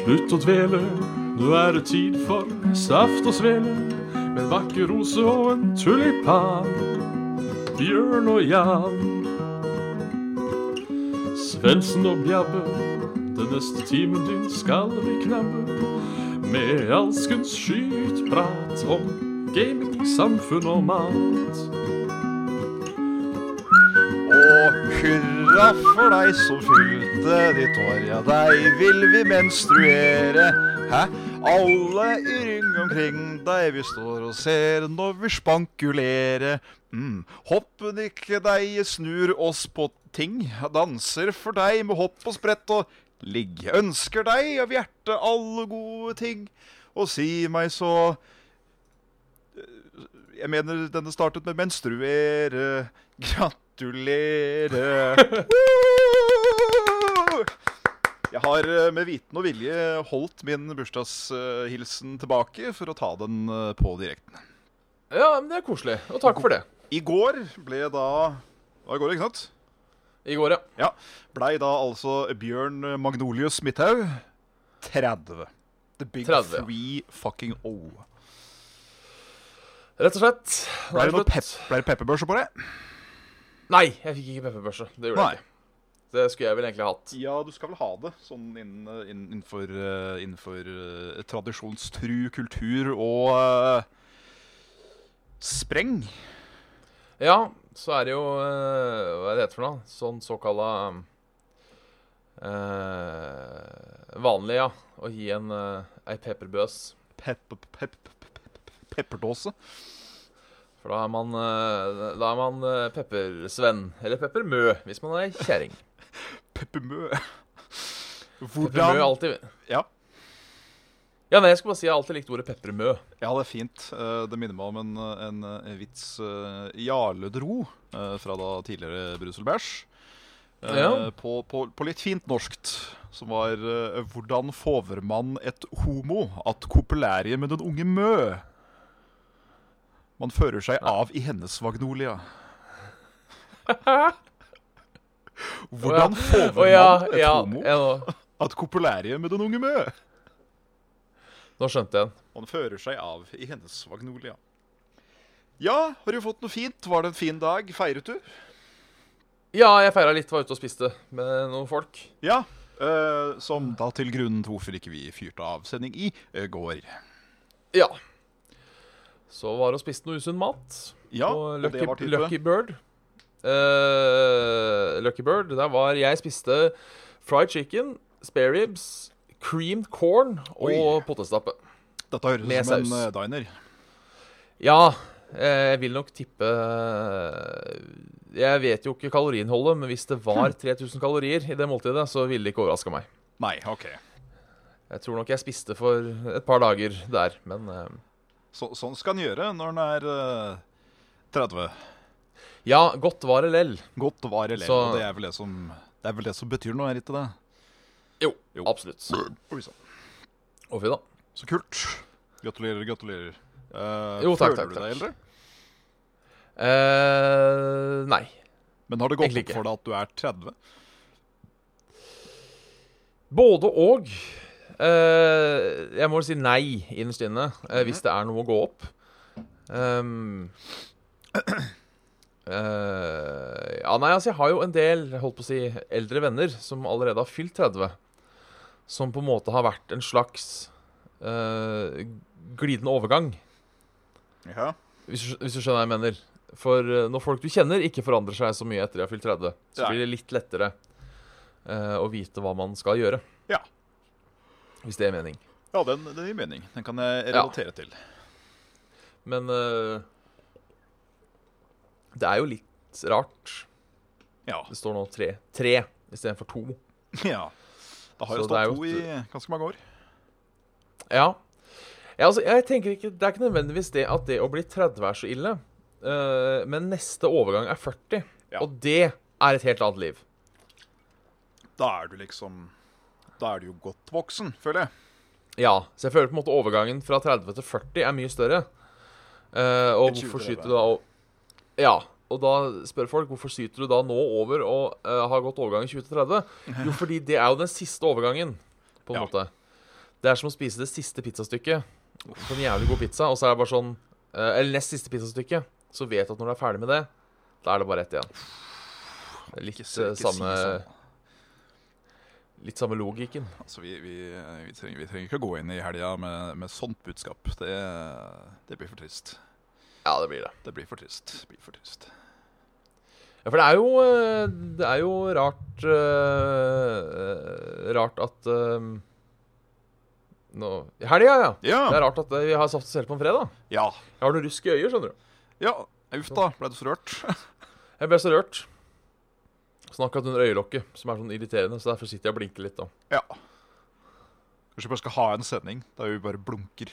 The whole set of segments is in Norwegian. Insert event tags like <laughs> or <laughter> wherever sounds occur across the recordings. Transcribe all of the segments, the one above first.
Slutt å dvele, nå er det tid for saft og svele. Med en vakker rose og en tulipan. Bjørn og Jan. Svendsen og Bjabbe, den neste timen din skal vi knabbe. Med alskens skytprat om gaming, samfunn og mat. Og hurra for deg som fylte ditt år, ja deg vil vi menstruere. Hæ? Alle i ring omkring deg vi står og ser når vi spankulere. Mm. Hoppen ikke deg snur oss på ting, danser for deg med hopp og sprett og ligg. Ønsker deg av hjertet alle gode ting, og si meg så jeg mener denne startet med menstruere. Gratulere. Woo! Jeg har eh, med viten og vilje holdt min bursdagshilsen tilbake for å ta den eh, på direkten. Ja, men det er koselig. Og takk for det. I går ble da Var i går, ikke sant? I går, ja. Ja. Blei da altså Bjørn Magnolius Midthaug 30. The big 30, ja. three fucking O. Rett og slett. Nå Blei er det noe slutt. pep, ble det pepperbørse på det? Nei, jeg fikk ikke pepperbørse. Det gjorde Nei. jeg ikke. Det skulle jeg vel egentlig hatt. Ja, du skal vel ha det sånn innen, innen, innenfor, eh, innenfor eh, tradisjonstru kultur og eh, spreng. Ja, så er det jo eh, Hva er det heter for noe? Sånn såkalla eh, Vanlig, ja. Å gi en eh, ei pepperbøs. Pep, pep, pep, pep, pep, pepperdåse. For da er man, eh, da er man eh, peppersvenn. Eller peppermø, hvis man er kjerring. Peppermø. Peppermø er Hvordan alltid Ja. Ja, nei, jeg skulle bare si jeg har alltid likt ordet peppermø. Ja, det er fint. Eh, Det minner meg om en, en, en vits eh, Jarle dro eh, fra da tidligere Bruselbæsj. Eh, Ja. På, på, på litt fint norskt, som var eh, 'Hvordan fover man et homo at kopulærie med den unge mø'? Man fører seg av i hennes vagnolia. <laughs> Hvordan fover Å ja, man et ja, homo ja nå, at kopulærie med den unge mø? nå skjønte jeg den. Man fører seg av i hennes vagnolia. Ja, har du fått noe fint? Var det en fin dag? Feiret du? Ja, jeg feira litt, var ute og spiste med noen folk. Ja. eh, som da til grunnen til hvorfor ikke vi fyrte av sending i eh, går. Ja. Så var det og spiste noe usunn mat. Ja, på og Lucky, det var type Lucky Bird. Eh, Lucky Bird, der var Jeg spiste fried chicken, spare ribs, creamed corn og Oi. potetstappe. Dette høres med ut som en saus. eh, diner. Ja, eh, jeg vil nok tippe eh, Jeg vet jo ikke kaloriinnholdet, men hvis det Hm. var 3000 kalorier i det måltidet, så ville det ikke overraska meg. Nei, OK. Jeg tror nok jeg spiste for et par dager der, men eh, Så, sånn skal en gjøre når en er eh, 30. Ja, godt var det lell. Godt var elev, Så- og det er vel det som det er vel det som betyr noe, er det ikke det? Jo, Jo. absolutt. Oi sann. Å, fy da. Så kult. Gratulerer, gratulerer. Eh, Jo, føler takk, takk, du takk. deg eldre? Eh, nei. Men har det gått Egentlig opp for deg at du er 30? Både og. Eh, jeg må vel si nei innerst inne, eh, hvis det er noe å gå opp. Ehm, <clears throat> eh, ja, nei, altså, jeg har jo en del jeg holdt på å si, eldre venner som allerede har fylt 30. Som på en måte har vært en slags eh, glidende overgang, Ja. hvis du, skj- hvis du skjønner hva jeg mener. For eh, når folk du kjenner, ikke forandrer seg så mye etter de har fylt 30, så Nei. blir det litt lettere eh, å vite hva man skal gjøre. Ja. Hvis det er mening. Ja, den, den gir mening. Den kan jeg Ja. relatere til. Men eh, det er jo litt rart. Ja. <laughs> Det står nå tre, tre istedenfor to. ja. Da har Så det det stått er jo to i et- eh, ganske mange år. Ja. ja altså, jeg tenker ikke, Det er ikke nødvendigvis det at det å bli 30 er så ille. eh, men neste overgang er 40, Ja. og det er et helt annet liv. Da er du liksom Da er du jo godt voksen, føler jeg. Ja, Så jeg føler på en måte overgangen fra 30 til 40 er mye større. Eh, og Det er 20 hvorfor skyter du da o- Ja. Og da spør folk hvorfor skyter du da nå over og <laughs> eh, har gått overgangen 20 til 30. Jo, fordi det er jo den siste overgangen, på en Ja. måte. Det er som å spise det siste pizzastykket på en jævlig god pizza, og så er det bare sånn eh, Eller nest siste pizzastykket, så vet du at når du er ferdig med det, da er det bare ett igjen. Det er Litt, Ikke si- eh, ikke si samme, sånn. litt samme logikken. Altså, vi, vi, vi, trenger, vi trenger ikke å gå inn i helga med, med sånt budskap. Det, det blir for trist. Ja, det blir det. Det blir for trist. Det blir for trist. Ja, for det er jo, eh, det er jo rart eh, Rart at eh, nå, i Helga, ja. Det Ja! er rart at eh, vi har saft og sele på en fredag. Ja. Jeg har noe rusk i øyet, skjønner du. ja. Uff da, ble du så rørt? <laughs> Jeg ble så rørt. Sånn akkurat under øyelokket, som er sånn irriterende. Så derfor sitter jeg og blinker litt, da. ja. Kanskje vi bare skal ha en sending der vi bare blunker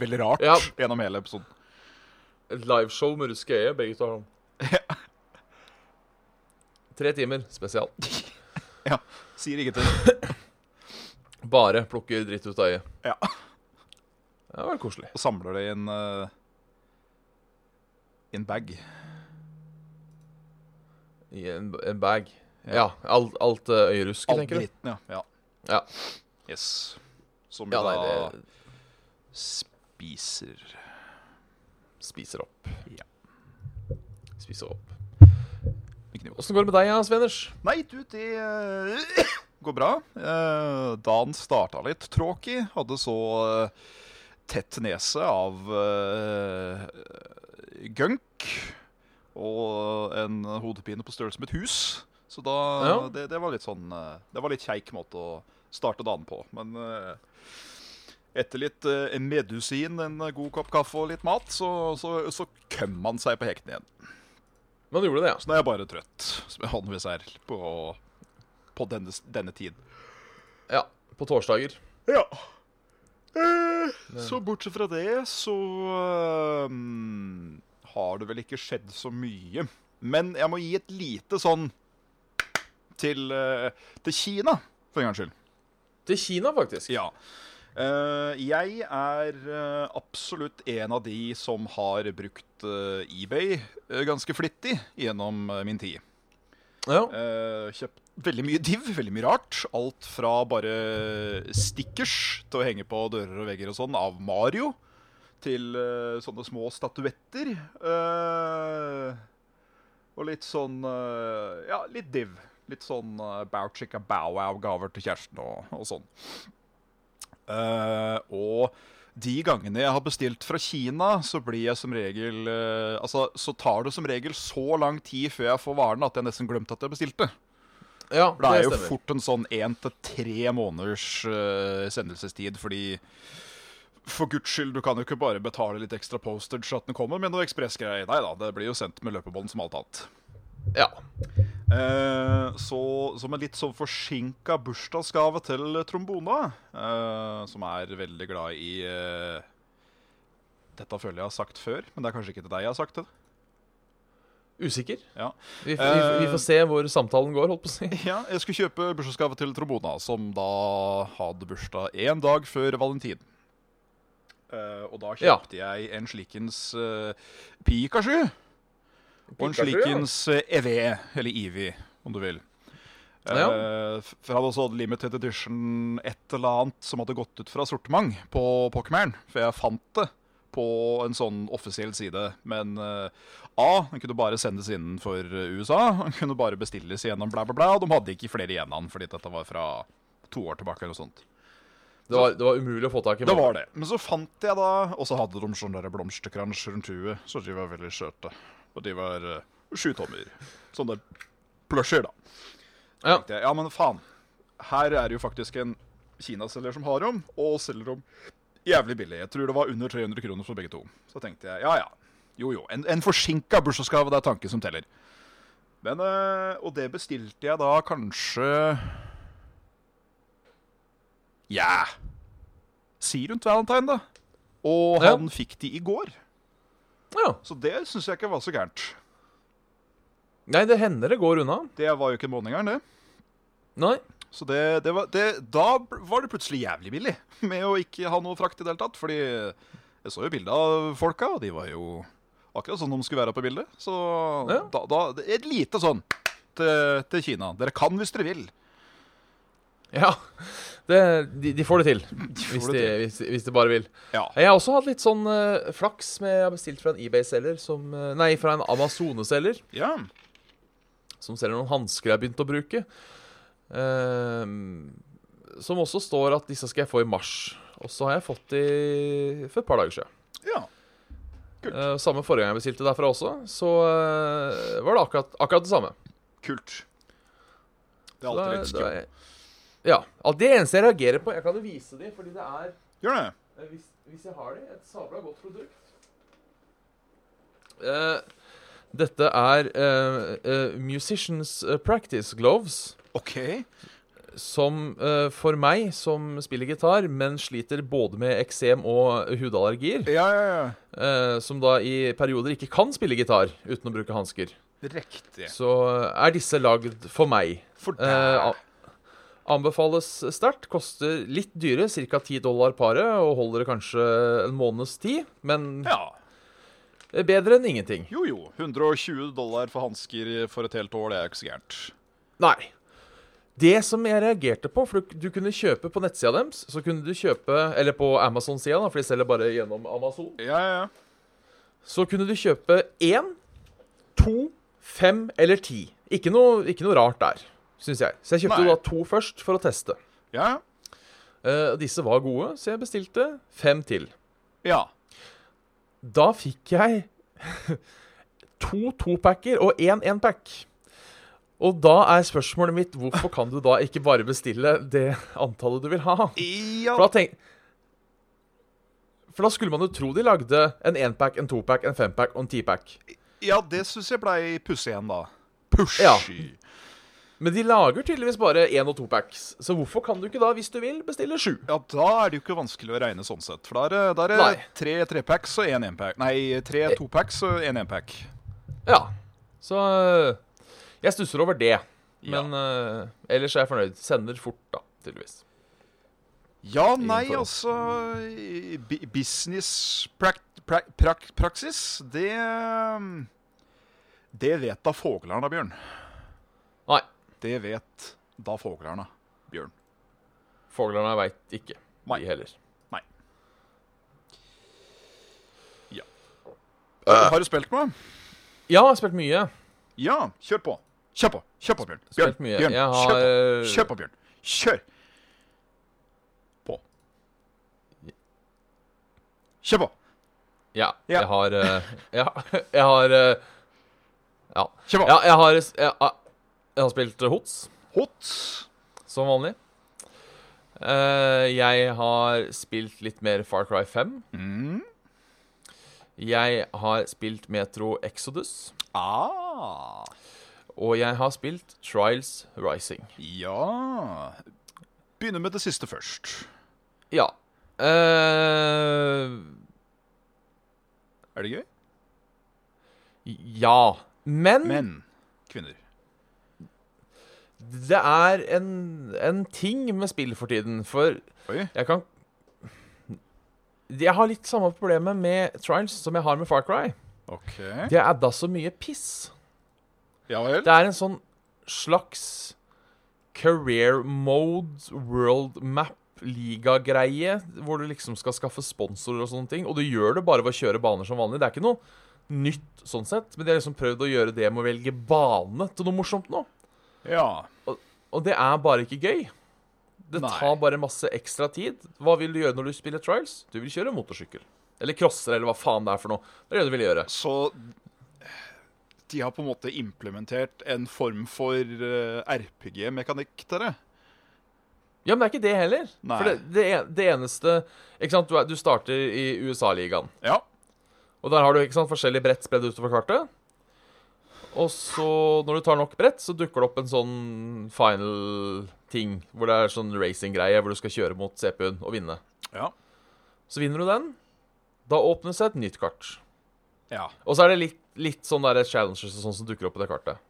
veldig rart <laughs> Ja. gjennom hele episoden. Et liveshow med rusk i øyet, begge to har sånn. Tre timer spesial. Sier ingenting. Bare plukker dritt ut av øyet. Ja. Det var koselig. Og samler det i en eh, i en bag. I en, en bag. Ja. Ja. Alt, alt eh, øyerusket, All tenker du. dritten, ja. ja. Ja. Yes. Som vi Ja, nei, da det spiser. Spiser opp. Ja. Spiser opp. Ikke nivå. Åssen går det med deg, ja, Sveners? Nei, du, det eh, <coughs> går bra. Eh, Dagen starta litt tråkig. Hadde så eh, tett nese av uh, gunk og en hodepine på størrelse med et hus. Så da Ja. det, det var litt sånn eh, Det var litt kjeik måte å starte dagen på. Men eh, etter litt eh, medusin, en god kopp kaffe og litt mat, så, så, så køm man seg på hekten igjen. Men du gjorde det, ja. Så nå er jeg bare trøtt, som jeg vanligvis er på, på denne, denne tid. Ja, på torsdager. Ja. Eh, så bortsett fra det, så ehm, har det vel ikke skjedd så mye. Men jeg må gi et lite sånn til, eh, til Kina, for en gangs skyld. Til Kina, faktisk. Ja. Eh, jeg er eh, absolutt en av de som har brukt eh, eBay eh, ganske flittig gjennom eh, min tid. Ja. Eh, kjøpt veldig mye div, veldig mye rart. Alt fra bare stickers til å henge på dører og vegger og sånn av Mario, til eh, sånne små statuetter. eh, og litt sånn eh, Ja, litt div. Litt sånn uh, bow chicka bow wow-gaver til kjæresten og, og sånn. Eh, og de gangene jeg har bestilt fra Kina, så blir jeg som regel eh, Altså, så tar det som regel så lang tid før jeg får varene at jeg nesten glemte at jeg bestilte. ja For det er jo stemmer. fort en sånn én til tre måneders eh, sendelsestid, fordi For guds skyld, du kan jo ikke bare betale litt ekstra postage at den kommer med noe ekspressgreier. Nei da, det blir jo sendt med løpebånd som alt annet. Ja. Eh, så som en litt sånn forsinka bursdagsgave til trombona, eh, som er veldig glad i eh, Dette føler jeg har sagt før, men det er kanskje ikke til deg jeg har sagt det. Usikker. Ja. Vi, f- vi, f- vi Eh. får se hvor samtalen går, holdt på å si. <laughs> Ja, Jeg skulle kjøpe bursdagsgave til trombona, som da hadde bursdag én dag før valentin. Eh, og da Ja. kjøpte jeg en slikens eh, Pikachu og en Pikachu, ja. slikens eh, EV, eller Ivy, om du vil. Eh, Ja. f- for jeg hadde også limited edition et eller annet som hadde gått ut fra sortiment på Pokémon. For jeg fant det på en sånn offisiell side. Men eh, A, den kunne bare sendes innenfor eh, USA. Den kunne bare bestilles gjennom bla, bla, bla. Og de hadde ikke flere igjen av den, fordi dette var fra to år tilbake. eller noe sånt. Det var, det var umulig å få tak i. Det var det. Men så fant jeg da Og så hadde de sånne der blomsterkrans rundt huet, så de var veldig søte. Og de var eh, sju tommer. Sånne plusher, da. Ja. Tenkte jeg, ja, men faen. Her er det jo faktisk en kinaselger som har dem, og selger dem jævlig billig. Jeg tror det var under 300 kroner for begge to. Så tenkte jeg ja ja. Jo jo. En, en forsinka bursdagsgave, det er tanken som teller. Men, eh, Og det bestilte jeg da kanskje Ja. Si rundt valentine, da. Og Ja. han fikk de i går. Ja. Så det syns jeg ikke var så gærent. Nei, det hender det går unna. Det var jo ikke måningeren, det. Nei. Så det, det var, det, da bl- var det plutselig jævlig billig <laughs> med å ikke ha noe frakt i det hele tatt. Fordi jeg så jo bilde av folka, og de var jo akkurat sånn de skulle være på bildet. Så Ja. da, da det er Et lite sånn til, til Kina. Dere kan hvis dere vil. Ja, det, de, de <laughs> får det til. Hvis får de, det hvis, hvis de bare vil. Ja. Jeg har også hatt litt sånn eh, flaks med Jeg har bestilt fra en eBay-selger som eh, Nei, fra en Amazone-selger Ja. som selger noen hansker jeg har begynt å bruke. Ehm, som også står at disse skal jeg få i mars. Og så har jeg fått de for et par dager siden. ja. Kult. Eh, samme forrige gang jeg bestilte derfra også, så eh, var det akkurat, akkurat det samme. Kult. Det er Så alltid da- litt da skummelt. er jeg- Ja. ja. Det eneste jeg reagerer på Jeg kan jo vise de, fordi det er Gjør det. Eh, Hvis, hvis jeg har de, et sabla godt produkt. Eh, dette er eh, eh, Musicians eh, Practice Gloves, OK. som eh, for meg, som spiller gitar, men sliter både med eksem og hudallergier, Ja, ja, ja. eh, som da i perioder ikke kan spille gitar uten å bruke hansker, Riktig. så eh, er disse lagd for meg. For Eh, deg. a- anbefales sterkt. Koster litt dyre, ca. 10 dollar paret, og holder det kanskje en måneds tid. Men Ja. det er bedre enn ingenting. Jo, jo. 120 dollar for hansker for et helt år, det er jo ikke så gærent. Nei. Det som jeg reagerte på, for du, du kunne kjøpe på nettsida deres, så kunne du kjøpe Eller på Amazon-sida, da, for de selger bare gjennom Amazon. Ja, ja, ja. Så kunne du kjøpe én, to, fem eller ti. Ikke noe, ikke noe rart der, syns jeg. Så jeg kjøpte Nei. jo da to først for å teste. Ja, Eh, og disse var gode, så jeg bestilte fem til. ja. Da fikk jeg <laughs> to topacker og én enpack. Og da er spørsmålet mitt hvorfor kan du da ikke bare bestille det antallet du vil ha? Ja. For da, tenk... For da skulle man jo tro de lagde en enpack, en topack, en fempack og en tipack. ja, det syns jeg blei pussig igjen, da. Pushy. Ja. Men de lager tydeligvis bare én- og topacks. Så hvorfor kan du ikke da, hvis du vil, bestille sju? Ja, da er det jo ikke vanskelig å regne sånn sett. For da er det, da er det Nei. Eh. tre trepacks og én enpack. Nei, tre topacks og én enpack. Ja. Så øh, jeg stusser over det. Ja. Men øh, ellers er jeg fornøyd. Sender fort, da, tydeligvis. Ja, nei, forhold. altså i- bi- Business prak, prak, prak, praksis, det um, Det vet da foglarna, Bjørn. Nei. Det vet da foglarna, Bjørn. Fuglene veit ikke, Nei. de heller. Nei. Ja. Eh. Har du spilt noe? Ja, jeg har spilt mye. Ja, kjør på. Kjør på, kjør på, Bjørn. Bjørn, Spilt mye. Bjørn, Jeg har kjør, eh, på. kjør på, Bjørn. Kjør på. Kjør på. Ja, Ja. jeg har øh, <laughs> Ja, jeg har øh, Ja. Kjør på. ja jeg, har, jeg, har- jeg har spilt øh, HOTS. Hot. som vanlig. Eh, jeg har spilt litt mer Far Cry 5. Mm. Jeg har spilt Metro Exodus. Ah. Og jeg har spilt Trials Rising. Ja Begynner med det siste først. Ja. eh, Er det gøy? ja. Men, Menn. Kvinner. det er en, en ting med spill for tiden, for Oi. jeg kan Jeg har litt samme problemet med Trials som jeg har med Far Cry. OK. Det er da så mye piss. Ja vel? Det er en sånn slags career mode, world map, liga-greie, hvor du liksom skal skaffe sponsorer og sånne ting. Og du gjør det bare ved å kjøre baner som vanlig. Det er ikke noe nytt sånn sett, men de har liksom prøvd å gjøre det med å velge bane til noe morsomt nå. Ja. Og det er bare ikke gøy. Det Nei. tar bare masse ekstra tid. Hva vil du gjøre når du spiller trials? Du vil kjøre motorsykkel. Eller crosser, eller hva faen det er for noe. Det er det du vil gjøre. Så de har på en måte implementert en form for eh, RPG-mekanikk til det? Ja, men det er ikke det heller. Nei. For det, det, en- det eneste Ikke sant, du, er, du starter i USA-ligaen. Ja. Og der har du ikke sant, forskjellige brett spredd utover kartet. Og så, når du tar nok brett, så dukker det opp en sånn final ting. Hvor det er sånn racing-greie hvor du skal kjøre mot CP-en og vinne. Ja. Så vinner du den. Da åpnes det et nytt kart. Ja. Og så er det litt, litt sånn der challenges og sånn som dukker opp på det kartet.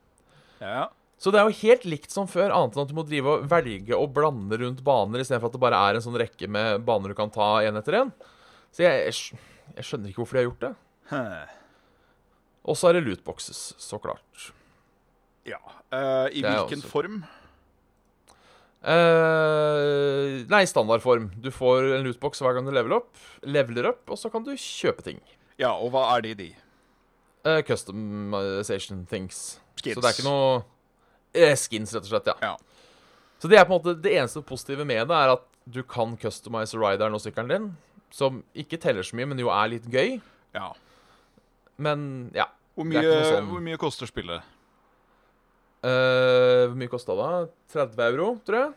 ja. Så det er jo helt likt som før, annet enn at du må drive og velge og blande rundt baner, istedenfor at det bare er en sånn rekke med baner du kan ta én etter én. Så jeg, jeg, skj- jeg skjønner ikke hvorfor de har gjort det. Hæ. Og så er det lootboxes, så klart. ja. Eh, I Det er hvilken også- form? Eh, nei, standardform. Du får en lootbox hver gang du leveler opp, leveler opp og så kan du kjøpe ting. Ja, og hva er de, de? Eh, customization things. Skins. Så det er ikke noe eh, Skins, rett og slett. ja. Ja. Så det er på en måte det eneste positive med det, er at du kan customize rideren og sykkelen din. Som ikke teller så mye, men jo er litt gøy. ja. Men ja. Hvor Det mye, er ikke noe sånn- hvor mye koster spillet? Eh, Hvor mye kosta det? 30 euro, tror jeg.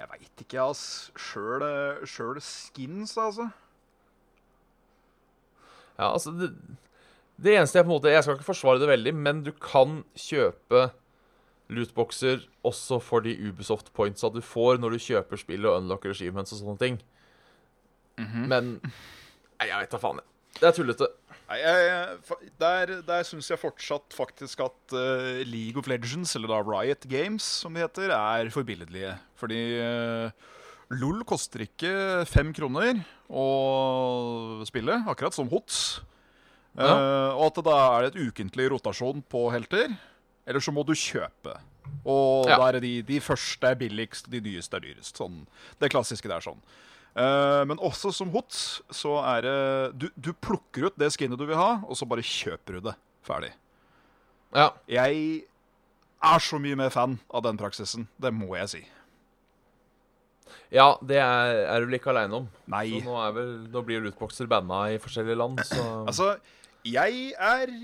Jeg veit ikke, ass. Sjøl, eh, sjøl skins, altså. Ja, altså det, det eneste jeg på en måte Jeg skal ikke forsvare det veldig, men du kan kjøpe lootboxer også for de Ubisoft pointsa du får når du kjøper spill og unlocker achievements og sånne ting. Mhm. Men Nei, jeg veit da faen. jeg. Det er tullete. Nei, jeg, fa- der der syns jeg fortsatt faktisk at eh, League of Legends, eller da Riot Games, som det heter, er forbilledlige. Fordi eh, LOL koster ikke fem kroner å spille, akkurat som HOTS. Eh, Ja. og at det da er et ukentlig rotasjon på helter. Eller så må du kjøpe. Og Ja. da er det de, de første er billigst, de nyeste er dyrest. Sånn. Det klassiske der sånn. Eh, men også som HOTS så er det du, du plukker ut det skinnet du vil ha, og så bare kjøper du det. Ferdig. Ja. Jeg er så mye mer fan av den praksisen. Det må jeg si. ja, det er, er du vel ikke aleine om. Nei. Så nå, er vel, nå blir lootboxer banna i forskjellige land, så <clears throat> Altså, jeg er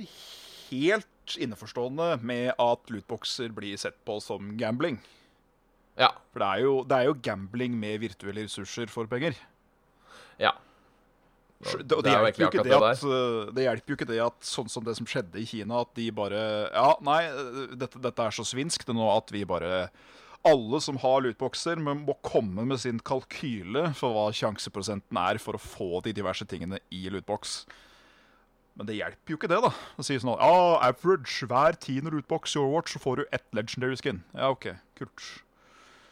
helt innforstående med at lootboxer blir sett på som gambling. Ja. For det er jo, det er jo gambling med virtuelle ressurser for penger. ja. Og Det er det, hjelper jo jo egentlig ikke det, akkurat at, uh, det hjelper jo ikke det at sånn som det som skjedde i Kina, at de bare Ja, nei, uh, dette, dette er så svinsk det nå at vi bare Alle som har lootboxer, må må komme med sin kalkyle for hva sjanseprosenten er for å få de diverse tingene i lootbox. Men det hjelper jo ikke det, da. Det sier sånn Ja, average hver tiende lootbox i Overwatch, så får du ett legendary skin. Ja, OK, kult.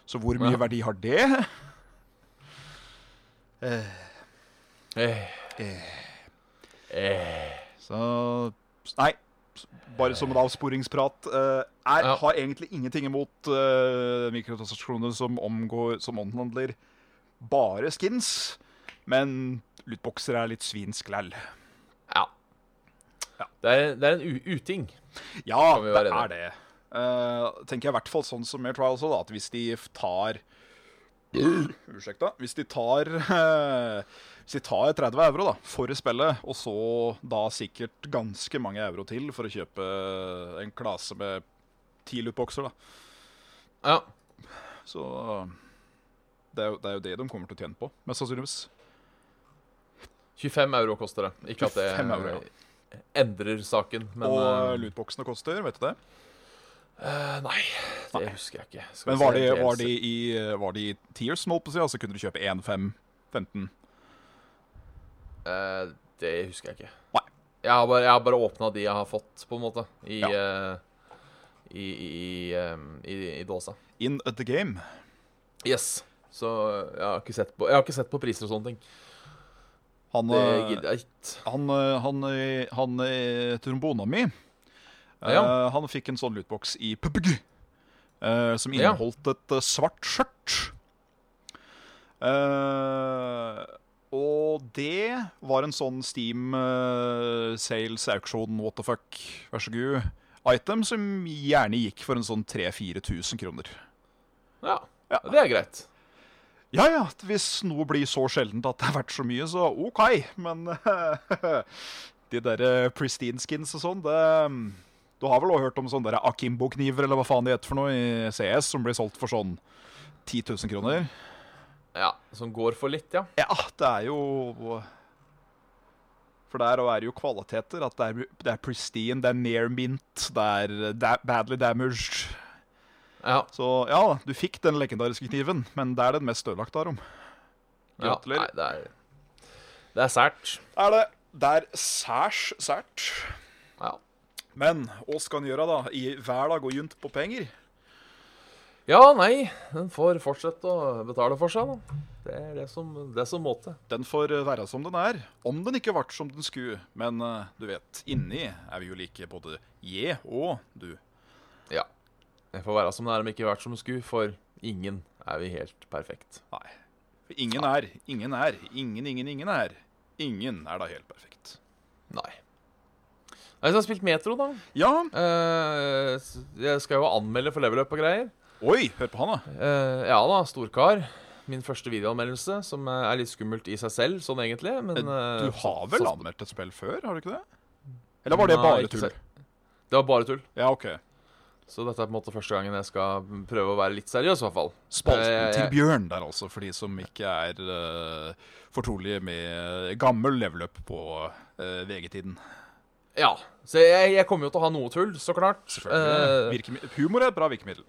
Så hvor mye Ja. verdi har det? Eh. Eh. Så Nei. s- Bare som en avsporingsprat. eh, Jeg Ja. har egentlig ingenting imot uh, mikrotransaksjoner som omgår Som omhandler bare skins, men lootboxer er litt svinsk læll. Ja. Ja. Det er, det er en u uting. Ja, Kan vi det være er det. Eh, tenker jeg i hvert fall sånn som jeg tror også, da, at hvis de f- tar <clears throat> Unnskyld, da. Hvis de tar eh, Hvis de tar 30 euro da, for spillet, og så da sikkert ganske mange euro til for å kjøpe en klase med ti lootboxer, da. Ja. Så det er, jo, det er jo det de kommer til å tjene på, mest sannsynligvis. 25 euro koster det. Ikke at det 25 euro, ja. endrer saken, men og eh, lootboxene koster, vet du det? eh, Nei, det husker jeg ikke. Skal Men vi var se, de, DLC. var de i, var de i tiers, holdt på å si? Altså kunne du kjøpe 1, 5, 15? Eh, Det husker jeg ikke. Nei. Jeg har bare, jeg har bare åpna de jeg har fått, på en måte, i Ja. eh, i, i, i, em, i, i dåsa. In at the game. Yes. Så jeg har ikke sett på, jeg har ikke sett på priser og sånne ting. Han, Det eh, gidder jeg ikke. han, eh, han, eh, han eh, trombona mi, eh, Ja. han fikk en sånn lootbox i PUBG, eh, som Ja. inneholdt et eh, svart skjørt. Eh, og det var en sånn Steam eh, sales auction, what the fuck, vær så god, item som gjerne gikk for en sånn 3000-4000 kroner. Ja. Ja. Det er greit. Ja ja, hvis noe blir så sjeldent at det er verdt så mye, så OK. Men <laughs> de der eh, pristine skins og sånn, det Du har vel også hørt om sånne der akimbo-kniver eller hva faen de heter for noe i CS, som blir solgt for sånn 10 000 kroner? Ja. Som går for litt, ja. Ja, det er jo For der òg er det jo kvaliteter. At det er, det er pristine, det er near mint, det er eh, da badly damaged. ja. Så ja, du fikk den legendariske kniven, men det er den mest ødelagte av dem. Ja, Gratulerer. nei, det er, det er sært. er det der særs sært. Ja. Men hva skal en gjøre, da? I hver dag og junt på penger? Ja, nei, den får fortsette å betale for seg, da. Det er det som, det som må til. Den får være som den er, om den ikke vart som den skulle. Men eh, du vet, inni er vi jo like både je og du. Ja. Jeg får være som det er om ikke vært som sku, for ingen er vi helt perfekt. Nei. For Ingen er, ingen er, ingen, ingen, ingen er. Ingen er da helt perfekt. Nei. Nei, så jeg har spilt Metro, da. Ja, Eh, s- jeg skal jo anmelde for level up og greier. oi, hør på han da. Eh, ja da, storkar. Min første videoanmeldelse, som eh, er litt skummelt i seg selv, sånn egentlig. Men eh, Du har vel så- anmeldt et spill før, har du ikke det? Eller var det Nei, bare ikke tull? se- Det var bare tull. Ja, ok. Så dette er på en måte første gangen jeg skal prøve å være litt seriøs, i hvert fall. Spalten Eh, til jeg- Bjørn der altså, for de som ikke er eh, fortrolige med gammel level up på eh, VG-tiden. Ja. Så jeg, jeg kommer jo til å ha noe tull, så klart. Selvfølgelig. Virkemi- Humor er et bra virkemiddel.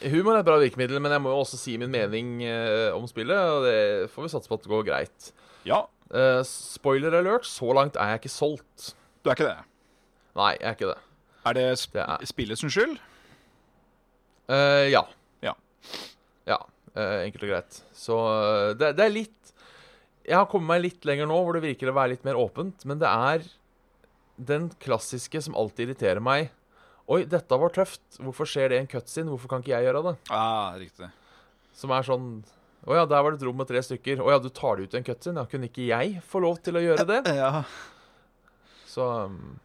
Eh, humor er et bra virkemiddel, men jeg må jo også si min mening eh, om spillet, og det får vi satse på at det går greit. Ja, Eh, spoiler alert, så langt er jeg ikke solgt. du er ikke det. Nei, jeg er ikke det. Er det, sp Det er- spillet sin skyld? Eh, ja. Ja. Ja, eh, enkelt og greit. Så eh, det, det er litt Jeg har kommet meg litt lenger nå, hvor det virker å være litt mer åpent, men det er den klassiske som alltid irriterer meg. Oi, dette var tøft. Hvorfor skjer det i en cutscene? Hvorfor kan ikke jeg gjøre det? Ja, Ah, riktig. Som er sånn Å ja, der var det et rom med tre stykker. Å ja, du tar det ut i en cutscene. Ja, kunne ikke jeg få lov til å gjøre det? Ja. Så um,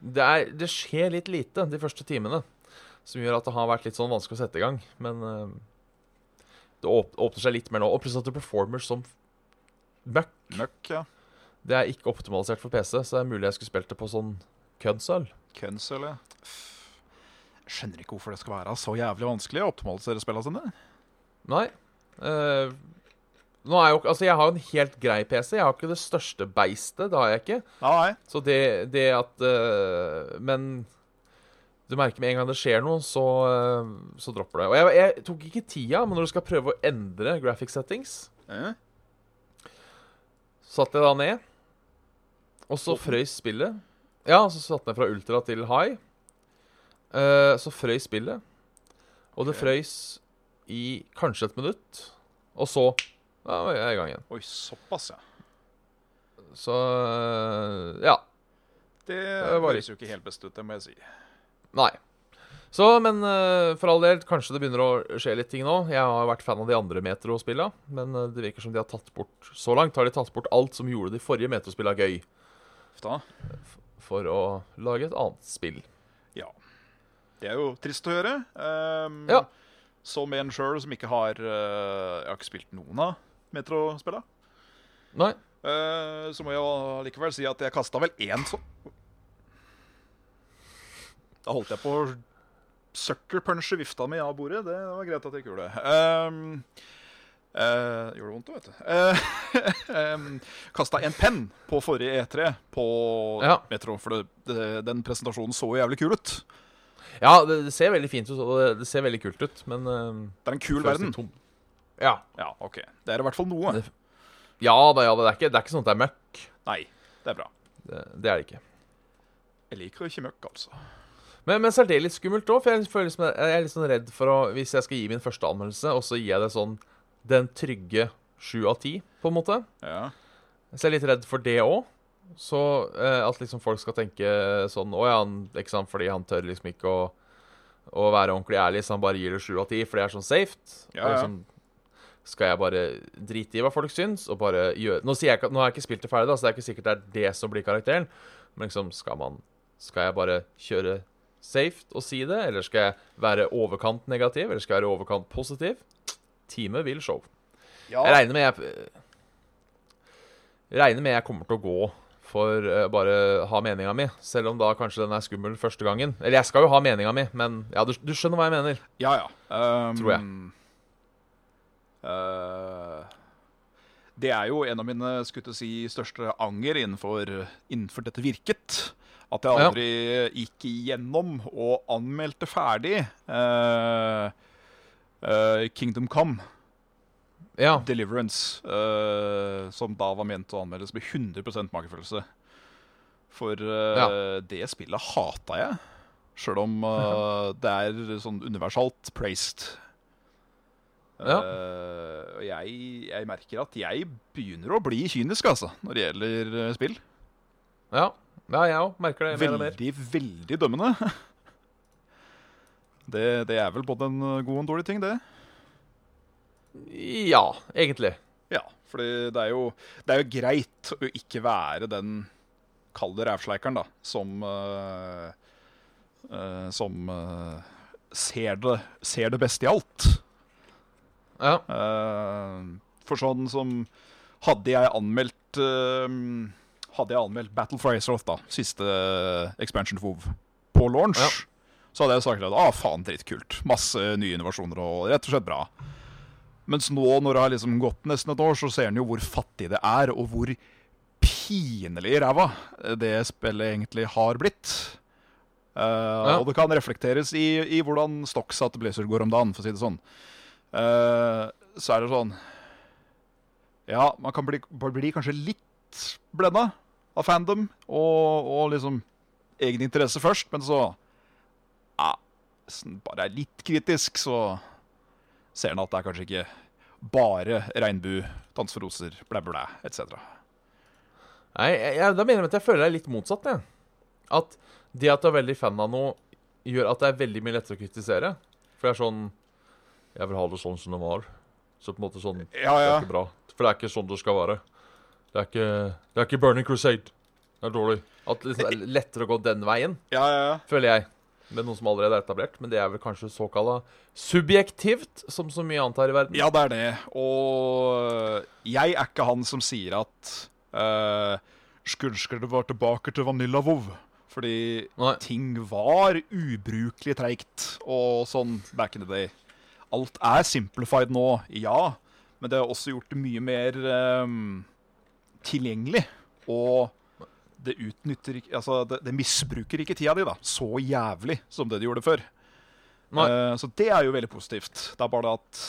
det, er, det skjer litt lite de første timene, som gjør at det har vært litt sånn vanskelig å sette i gang. Men um, det åp åpner seg litt mer nå. Og plutselig at du performer som f- møkk. Møkk, ja. Det er ikke optimalisert for PC, så det er mulig jeg skulle spilt det på sånn kødsøl. Køns, eller? Jeg skjønner ikke hvorfor det skal være så jævlig vanskelig å optimalisere spillene sine. Nei. Eh, nå er jo, ikke- altså jeg har jo en helt grei PC. Jeg har ikke det største beistet. Det har jeg ikke. Ah, Nei, Så det, det at eh, Men du merker med en gang det skjer noe, så, eh, så dropper det. Og jeg, jeg tok ikke tida, men når du skal prøve å endre graphic settings, Eh? nei. satt jeg da ned, og så frøys spillet. Ja, så satt jeg ned fra ultra til high. Eh, så frøys spillet. Og det Ok. frøys i kanskje et minutt. Og så ja, var jeg i gang igjen. Oi, såpass, ja. Så eh, ja. Det var høres jo ikke helt best ut, det må jeg si. Nei. Så, men eh, for all del, kanskje det begynner å skje litt ting nå. Jeg har vært fan av de andre Metro-spilla, men eh, det virker som de har tatt bort Så langt har de tatt bort alt som gjorde de forrige Metro-spilla gøy, Uff da. for å lage et annet spill. Ja. Det er jo trist å høre. Um, Ja. Som en sjøl som ikke har eh, Jeg har ikke spilt noen av Metro-spilla. Nei. Eh, så må jeg likevel si at jeg kasta vel én sånn Da holdt jeg på å sucker punche vifta mi av bordet. Det var greit at jeg ikke gjorde det. Ehm, eh, <laughs> gjorde det vondt, da, vet du. Uh, kasta en penn på forrige E3 på Ja. Metro, for det, det, den presentasjonen så jævlig kul ut. Ja, det, det ser veldig fint ut, og det, det ser veldig kult ut, men eh, Det er en kul føles verden. litt tom. Ja. Ja, ok. Det er i hvert fall noe. Det- ja da, ja da. Det er ikke, det er ikke sånn at det er møkk. Nei, det er bra. Det, det er det ikke. Jeg liker jo ikke møkk, altså. Men, men så er det litt skummelt òg, for jeg, føler liksom, jeg er litt sånn redd for å Hvis jeg skal gi min første anmeldelse, og så gir jeg det sånn den trygge sju av ti, på en måte. Ja. Så jeg er litt redd for det òg. Så eh, at liksom folk skal tenke sånn Å ja, han, ikke sant, fordi han tør liksom ikke å, å være ordentlig ærlig, så han bare gir det sju av ti, for det er sånn safe. Ja, Og ja. liksom, skal jeg bare drite i hva folk syns, og bare gjøre Nå, sier jeg, ikke- nå har jeg ikke spilt det ferdig, da, så det er ikke sikkert det er det som blir karakteren. Men liksom, skal man Skal jeg bare kjøre safe og si det, eller skal jeg være overkant negativ, eller skal jeg være overkant positiv? Time vil show. ja. Jeg regner med jeg Regner med jeg kommer til å gå for eh, bare ha meninga mi, selv om da kanskje den er skummel første gangen. Eller jeg skal jo ha meninga mi, men ja, du, du skjønner hva jeg mener. Ja, ja. Um, Tror jeg. eh, det er jo en av mine skulle til å si, største anger innenfor, innenfor dette virket. At jeg Ja. aldri gikk igjennom og anmeldte ferdig eh, eh, Kingdom Come Ja, Deliverance, eh, som da var ment å anmeldes med 100 magefølelse. For eh, det spillet hata jeg, sjøl om eh, det er sånn universalt praised. Ja. Eh, og jeg, jeg merker at jeg begynner å bli kynisk, altså, når det gjelder eh, spill. Ja, ja jeg òg merker det mer og mer. Veldig, veldig dømmende. <laughs> Det, det er vel både en eh, god og en dårlig ting, det. Ja, egentlig. Ja, for det er jo, det er jo greit å ikke være den kalde rævsleikeren, da, som eh, eh, Som eh, ser, det, ser det beste i alt. Ja. Eh, for sånn som Hadde jeg anmeldt eh, Hadde jeg anmeldt Battle for Azeroth, da, siste expansion for WoW, på launch, så hadde jeg sagt at ah, faen, dritkult. Masse nye innovasjoner og rett og slett bra. Mens nå, når det har liksom gått nesten et år, så ser en jo hvor fattig det er, og hvor pinlig ræva det spillet egentlig har blitt. Eh, Og det kan reflekteres i, i hvordan stokksatt Blizzard går om dagen, for å si det sånn. Eh, så er det sånn Ja, man kan bli, bare bli kanskje litt blenda av fandom og, og liksom egen interesse først, men så ja, sånn Bare er litt kritisk, så ser en at det er kanskje ikke bare regnbue, dans for roser, blæ, blæ, blæ, etc. Nei, jeg, jeg, da mener jeg at jeg føler det er litt motsatt, jeg. At det at du er veldig fan av noe, gjør at det er veldig mye lettere å kritisere. For det er sånn Jeg vil ha det sånn som det var. Så på en måte sånn Ja, Det ja. er ikke bra. For det er ikke sånn det skal være. Det er ikke, det er ikke Burning Crusade. Det er dårlig. At liksom, det er lettere å gå den veien, Ja, ja, ja. føler jeg. Med noe som allerede er etablert. Men det er vel kanskje såkalla subjektivt, som så mye annet her i verden. Ja, det er det. Og jeg er ikke han som sier at uh, Skulsker det var tilbake til Vanilla WoW. Fordi Nei. ting var ubrukelig treigt og sånn back in the day. Alt er simplified nå, ja. Men det har også gjort det mye mer ehm, tilgjengelig. Og det utnytter ikke Altså, det, det misbruker ikke tida di, da. Så jævlig som det de gjorde før. Nei. Eh, så det er jo veldig positivt. Det er bare det at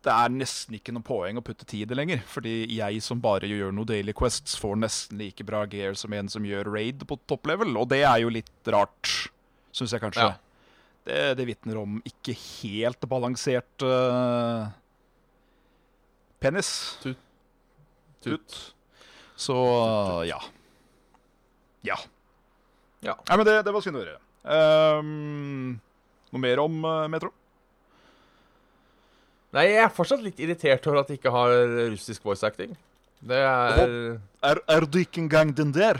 det er nesten ikke noe poeng å putte tid i lenger, fordi jeg som bare gjør noe Daily Quests, får nesten like bra gear som en som gjør raid på top level, og det er jo litt rart, syns jeg kanskje. Ja. Det, det vitner om ikke helt balansert eh, penis. Tut. Så ja. Ja. Ja. Nei, men det, det var synd å høre. Ehm, noe mer om eh, Metro? Nei, jeg er fortsatt litt irritert over at de ikke har russisk voice acting. Det er Er, er du ikke engang den der?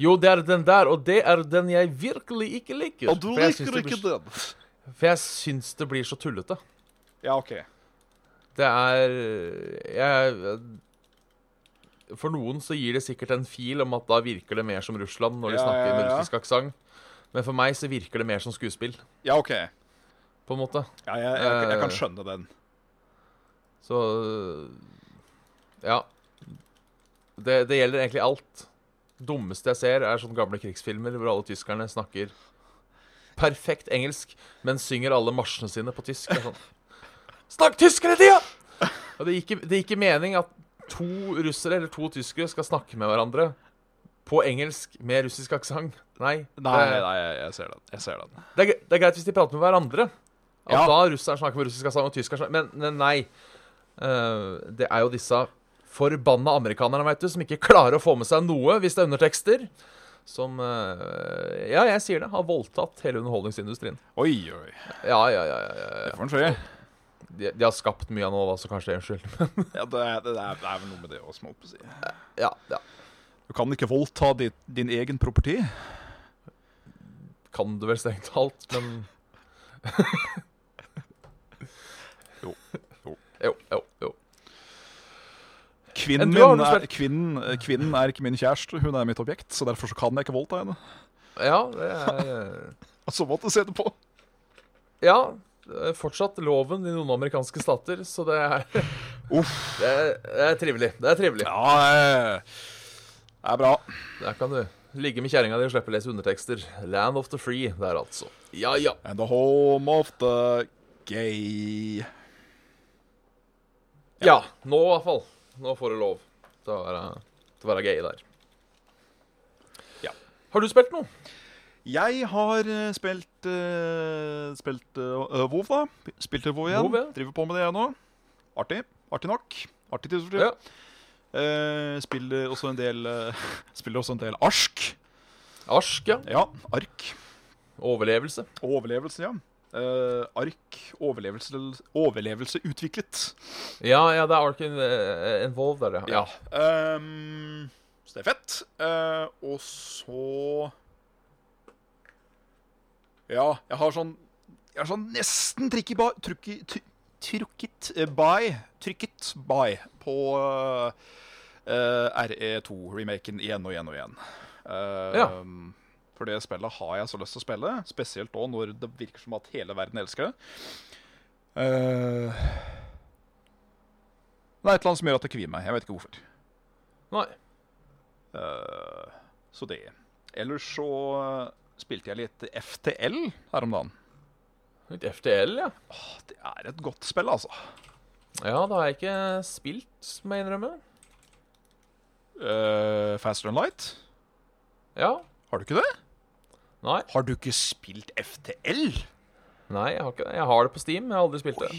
Jo, det er den der, og det er den jeg virkelig ikke liker. Og du For jeg syns liker det ikke blir, den? For jeg syns det blir så tullete. <laughs> Ja, OK. Det er jeg, For noen så gir det sikkert en fil om at da virker det mer som Russland når de Ja, snakker ja, med ja. russisk aksent. Men for meg så virker det mer som skuespill, Ja, ok. på en måte. Ja, jeg, jeg, jeg, kan skjønne den. Så Ja. Det, det gjelder egentlig alt. Dummeste jeg ser, er sånne gamle krigsfilmer hvor alle tyskerne snakker perfekt engelsk, men synger alle marsjene sine på tysk. Det er Sånn. Snakk tysk hele tida! Og det gir ikke- det gir ikke mening at to russere eller to tyskere skal snakke med hverandre på engelsk med russisk aksent. Nei. Nei, det, nei, jeg, jeg ser den. Jeg ser den. det er, gre- det er greit hvis de prater med hverandre. At Ja. da russeren snakker med russisk aksent og tyskeren snakker men, men nei. Eh, det er jo disse forbanna amerikanerne, veit du, som ikke klarer å få med seg noe hvis det er undertekster. Som eh, Ja, jeg sier det. Har voldtatt hele underholdningsindustrien. Oi, oi. Ja, ja, ja. ja, ja, Det ja. får en skje. De, de har skapt mye av noe, da, så kanskje det er en skyld. <laughs> Ja, det, er- det, er- det er vel noe med det også, må jeg holdt på å si. ja, ja. Du kan ikke voldta ditt, din egen property. Kan du vel strengt talt, men <laughs> Jo, jo. Jo, jo, jo. Kvinnen, Men du har min vel er, spilt- kvinnen, eh, kvinnen er ikke min kjæreste, hun er mitt objekt, så derfor så kan jeg ikke voldta henne. Altså, Ja, det er eh, Og så måtte jeg se det på. Ja, det er fortsatt loven i noen amerikanske stater, så det er <laughs> Det er, det er trivelig. Det er trivelig. eh, Ja, det er bra. Der kan du ligge med kjerringa di og slippe å lese undertekster. Land of the free der, altså. Ja, ja. And the home of the gay. Ja, nå i hvert fall. Nå får du lov til å være, til å være gay der. Ja. Har du spilt noe? Jeg har eh, spilt eh, Spilt eh, WoW, da. Spilte WoW igjen. WoW, ja. Driver på med det, jeg nå. Artig. Artig nok. Artig til Ja. Eh, spiller også en del eh, <laughs> Spiller også en del arsk. Arsk, ja. Ja, ark. Overlevelse. Overlevelse, ja. Eh, ark, overlevelse, overlevelse utviklet. Ja, ja, det er Ark in, eh, Involved der, ja. ja. Ehm, så det er fett. Eh, og så Ja, jeg har sånn Jeg har sånn nesten trykk i ba... Trykk i try- Trykket eh, by Trykket by på eh, RE2-remaken igjen og igjen og igjen. Eh, Ja. For det spillet har jeg så lyst til å spille, spesielt nå når det virker som at hele verden elsker det. Eh, det er et eller annet som gjør at det kvier meg. Jeg vet ikke hvorfor. Nei. Eh, så det. Ellers så eh, spilte jeg litt FTL her om dagen. Litt FTL, ja. Åh, Det er et godt spill, altså. Ja, det har jeg ikke spilt, må jeg innrømme. Eh, Faster and Light? Ja. Har du ikke det? Nei. Har du ikke spilt FTL? Nei, jeg har ikke det. Jeg har det på Steam, jeg har aldri spilt det.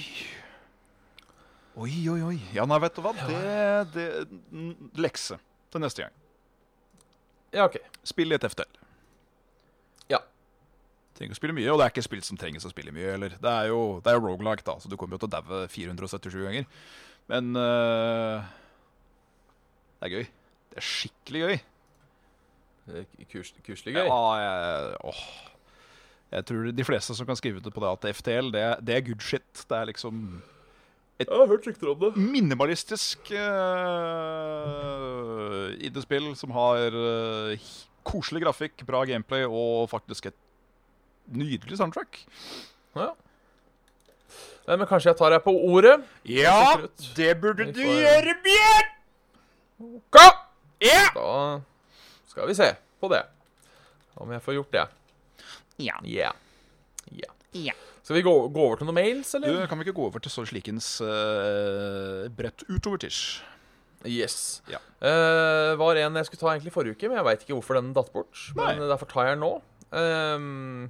Oi, oi, oi. Ja, nei, vet du hva. Det, det n- Lekse til neste gang. Ja, OK. Spill litt FTL. Ja. Trenger ikke å spille mye, og det er ikke spill som trenges å spille mye heller. Det er jo, det er jo roguelike, da, så du kommer jo til å daue 477 ganger. Men eh, det er gøy. Det er skikkelig gøy. Det er Kurs, kurslig gøy. Ja, jeg, åh. jeg tror de fleste som kan skrive ut på det at FTL, det, er- det er good shit. Det er liksom Jeg har hørt rykter om det. minimalistisk uh, indiespill som har eh, h- koselig grafikk, bra gameplay og faktisk et nydelig soundtrack. Ja. Nei, men kanskje jeg tar deg på ordet. Ja, Absolutt. det burde Vi du får- gjøre, Bjørn! Gå! Ja! Da skal vi se på det. Om jeg får gjort det. Ja. Yeah. Yeah. Ja. Skal vi gå, gå over til noen mails, Du, eller? kan vi ikke gå over til så slikens eh, bredt utover tish? Yes. Ja. Eh, var en jeg skulle ta egentlig forrige uke, men jeg veit ikke hvorfor den datt bort. Men Nei. derfor tar jeg den nå. Ehm,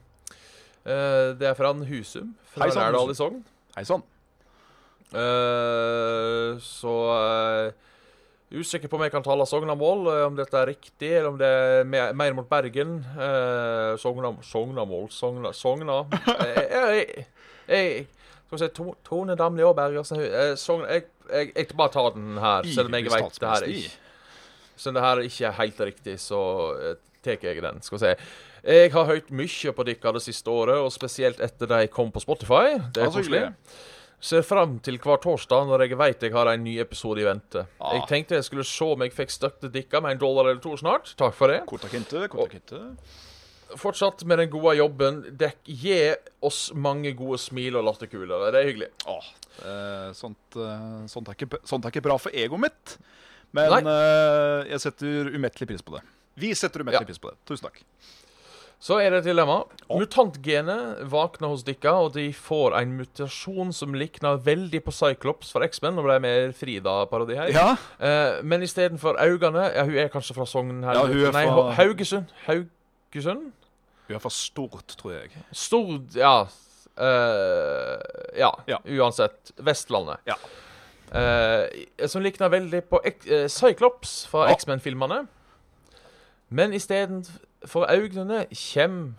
eh, det er fra en Husum fra Hei sann, Lærdal Husum. i Sogn. Hei sann. Eh, så eh, Usikker på om jeg kan tale Sognamål, eh, om dette er riktig, eller om det er mer, mer mot Bergen. Eh, Sogna, Sognamål Sogna, Sogna. Eh, jeg- jeg- jeg- Skal vi se To- Tone Damli og Bergersen eh, Sogna jeg, jeg, jeg bare tar den her, selv om jeg Ivrig vet det her statsminister. ikke Selv om det her ikke er helt riktig, så eh, tar jeg den. Skal vi se. Jeg har hørt mye på dere det siste året, og spesielt etter de kom på Spotify. Det er Ja, så Altså, hyggelig. koselig. Ser fram til hver torsdag når jeg veit jeg har en ny episode i vente. Ah. Jeg tenkte jeg skulle se om jeg fikk støtte dere med en dollar eller to snart. Takk for det. Korta kinte, korta kinte. Fortsatt med den gode jobben. Dekk gi oss mange gode smil og latterkuler. Det er hyggelig. Åh, eh, sånt, eh, sånt, er ikke, b- sånt er ikke bra for egoet mitt, men Nei. eh, jeg setter umettelig pris på det. Vi setter umettelig Ja. pris på det. Tusen takk. Så er det et dilemma. Ja. Mutantgenet våkner hos dere, og de får en mutasjon som likner veldig på Cyclops fra X-Men. Nå ble jeg med Frida-parodi her. Ja, Eh, men istedenfor øynene ja, Hun er kanskje fra Sogn? her, Ja, hun er Nei, fra- Ho- Haugesund. Haugesund? vi er for stort, tror jeg. Stor Ja. eh, ja, Ja. uansett. Vestlandet. Ja. Eh, som likner veldig på X- eh, Cyclops fra Ja. X-Men-filmene. Men istedenfor øynene kommer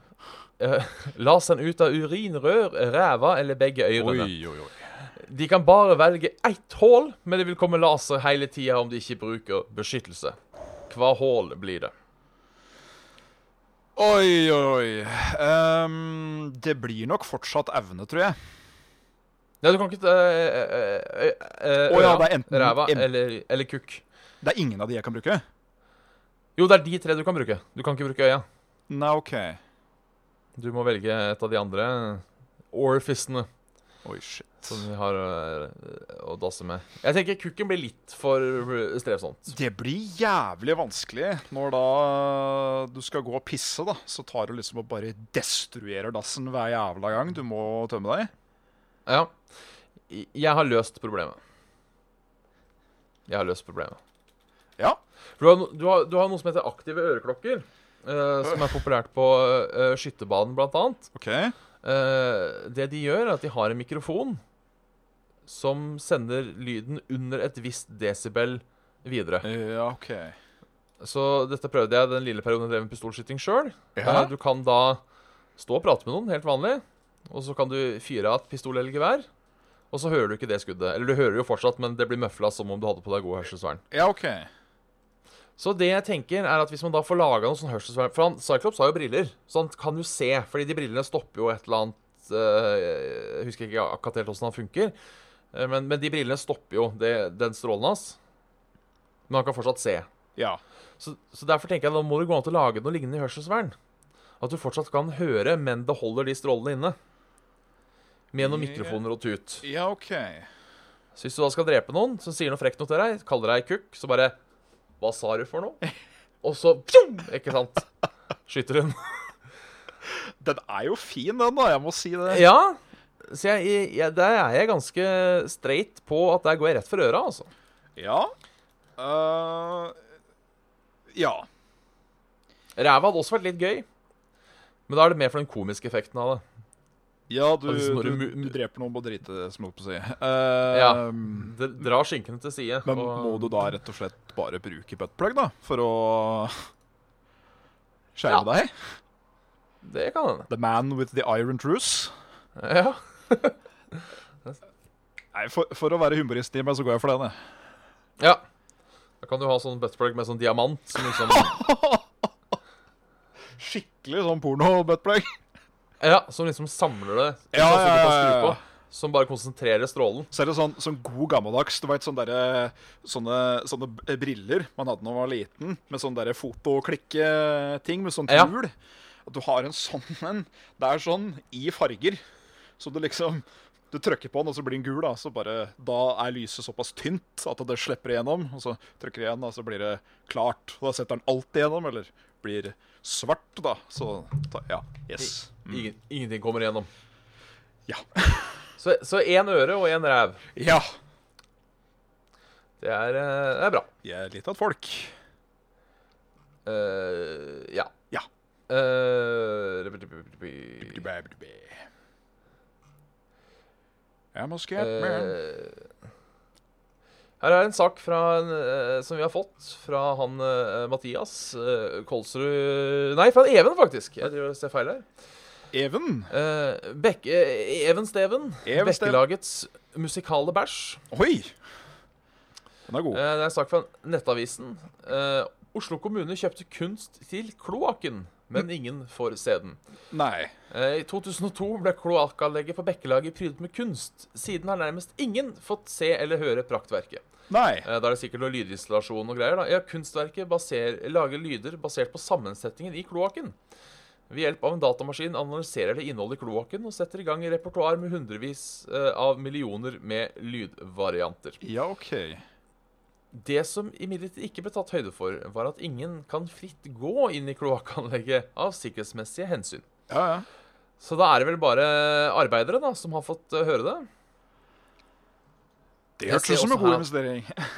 eh, <laughs> laseren ut av urinrør, ræva eller begge Oi, ørene. oi, oi. De kan bare velge ett hull, men det vil komme laser hele tida om de ikke bruker beskyttelse. Hva hull blir det? Oi, oi, oi. Ehm, det blir nok fortsatt evne, tror jeg. Ja, du kan ikke eh, eh, eh, Å ja, øra, det er enten Ræva en, eller, eller kukk. Det er ingen av de jeg kan bruke? Jo, det er de tre du kan bruke. Du kan ikke bruke øya. Nei, OK. Du må velge et av de andre orfisene Oi, shit. som vi har øh, å dasse med. Jeg tenker kukken blir litt for øh, strevsomt. Det blir jævlig vanskelig når da du skal gå og pisse, da. Så tar du liksom og bare destruerer dassen hver jævla gang du må tømme deg. Ja. I- Jeg har løst problemet. Jeg har løst problemet. Ja. For Du har, no- du har, du har noe som heter aktive øreklokker. eh, som er populært på eh, skytterbanen, blant annet. OK. Eh, det de gjør, er at de har en mikrofon som sender lyden under et visst desibel videre. Ja, OK. Så dette prøvde jeg den lille perioden jeg drev med pistolskyting sjøl. Ja. Du kan da stå og prate med noen, helt vanlig, og så kan du fyre av et pistol eller gevær. Og så hører du ikke det skuddet. Eller du hører jo fortsatt, men det blir møfla som om du hadde på deg god hørselsvern. Ja, OK. Så det jeg tenker er at hvis man da får laga noe sånn hørselsvern For han, Cyclops har jo briller, så han kan jo se. Fordi de brillene stopper jo et eller annet eh, Jeg husker ikke akkurat helt åssen han funker. eh, men, men de brillene stopper jo det, den strålen hans. Men han kan fortsatt se. Ja. Så, så derfor tenker jeg da må det gå an til å lage noe lignende i hørselsvern. At du fortsatt kan høre, men det holder de strålene inne. Med noen Ja. mikrofoner og tut. Ja, OK. Så hvis du da skal drepe noen som sier noe frekt noe til deg, kaller deg kukk, så bare Hva sa du for <laughs> noe? Og så pjong! Ikke sant? Skyter hun. Den er jo fin, den, da. Jeg må si det. <laughs> Ja. Så jeg, jeg, der er jeg ganske straight på at der går jeg rett for øra, altså. Ja. Eh, ja. Ræva hadde også vært litt gøy. Men da er det mer for den komiske effekten av det. Ja, du, Altså, når du, du mu- du dreper noen på drite, som jeg holdt på å si. Ja. Eh, D- Dra skinkene til side. Men og- må du da rett og slett bare bruke buttplug, da? For å <laughs> skjerme deg? Det kan hende. The man with the iron truce? Ja. Nei, for, for å være humorist i meg, så går jeg for den, jeg. Ja. Da kan du ha sånn buttplug med sånn diamant som liksom <laughs> Skikkelig sånn porno-buttplug. Ja, som liksom samler det. Ja, sånn som du kan ja, ja, skru ja. på, Som bare konsentrerer strålen. Så er det sånn, sånn god gammeldags, du veit sånne, derre- sånne, sånne b- eh, briller man hadde da man var liten, med sånn derre fotoklikketing med sånn Ja. kul. At du har en sånn en. Det er sånn i farger. Så du liksom Du trykker på den, og så blir den gul. Da, så bare, da er lyset såpass tynt at det slipper igjennom. Og så trykker du igjen, da, så blir det klart. Og da setter den alt igjennom, eller blir svart, da. Så ta, ja. Yes. Ingen, ingenting kommer igjennom. Ja. <laughs> Så så én øre og én ræv. Ja. Det er, eh, det er bra. Vi er litt av et folk. Eh, ja. Ja. Eh, Jeg må skape meg. eh, her er en sak fra en, eh, som vi har fått fra han eh, Mathias eh, Kolsrud Nei, fra Even, faktisk. Jeg driver og ser feil her. Even. Eh, Bek eh, Even Steven. Even Steven. Bekkelagets musikale bæsj. Oi! Den er god. Eh, det er en sak fra Nettavisen. Eh, Oslo kommune kjøpte kunst til kloakken, Mm. men ingen får se den. Nei. Eh, I 2002 ble kloakkanlegget på Bekkelaget prydet med kunst. Siden har nærmest ingen fått se eller høre praktverket. Nei. Eh, Da er det sikkert noe lydinstallasjon og greier. da. Ja, Kunstverket baser, lager lyder basert på sammensetningen i kloakken. Ved hjelp av en datamaskin analyserer det innholdet i kloakken og setter i gang et repertoar med hundrevis eh, av millioner med lydvarianter. Ja, OK. Det som imidlertid ikke ble tatt høyde for, var at ingen kan fritt gå inn i kloakkanlegget av sikkerhetsmessige hensyn. Ja, ja. Så da er det vel bare arbeidere da, som har fått eh, høre det. Det Jeg hørtes ser ut som en også god her- investering.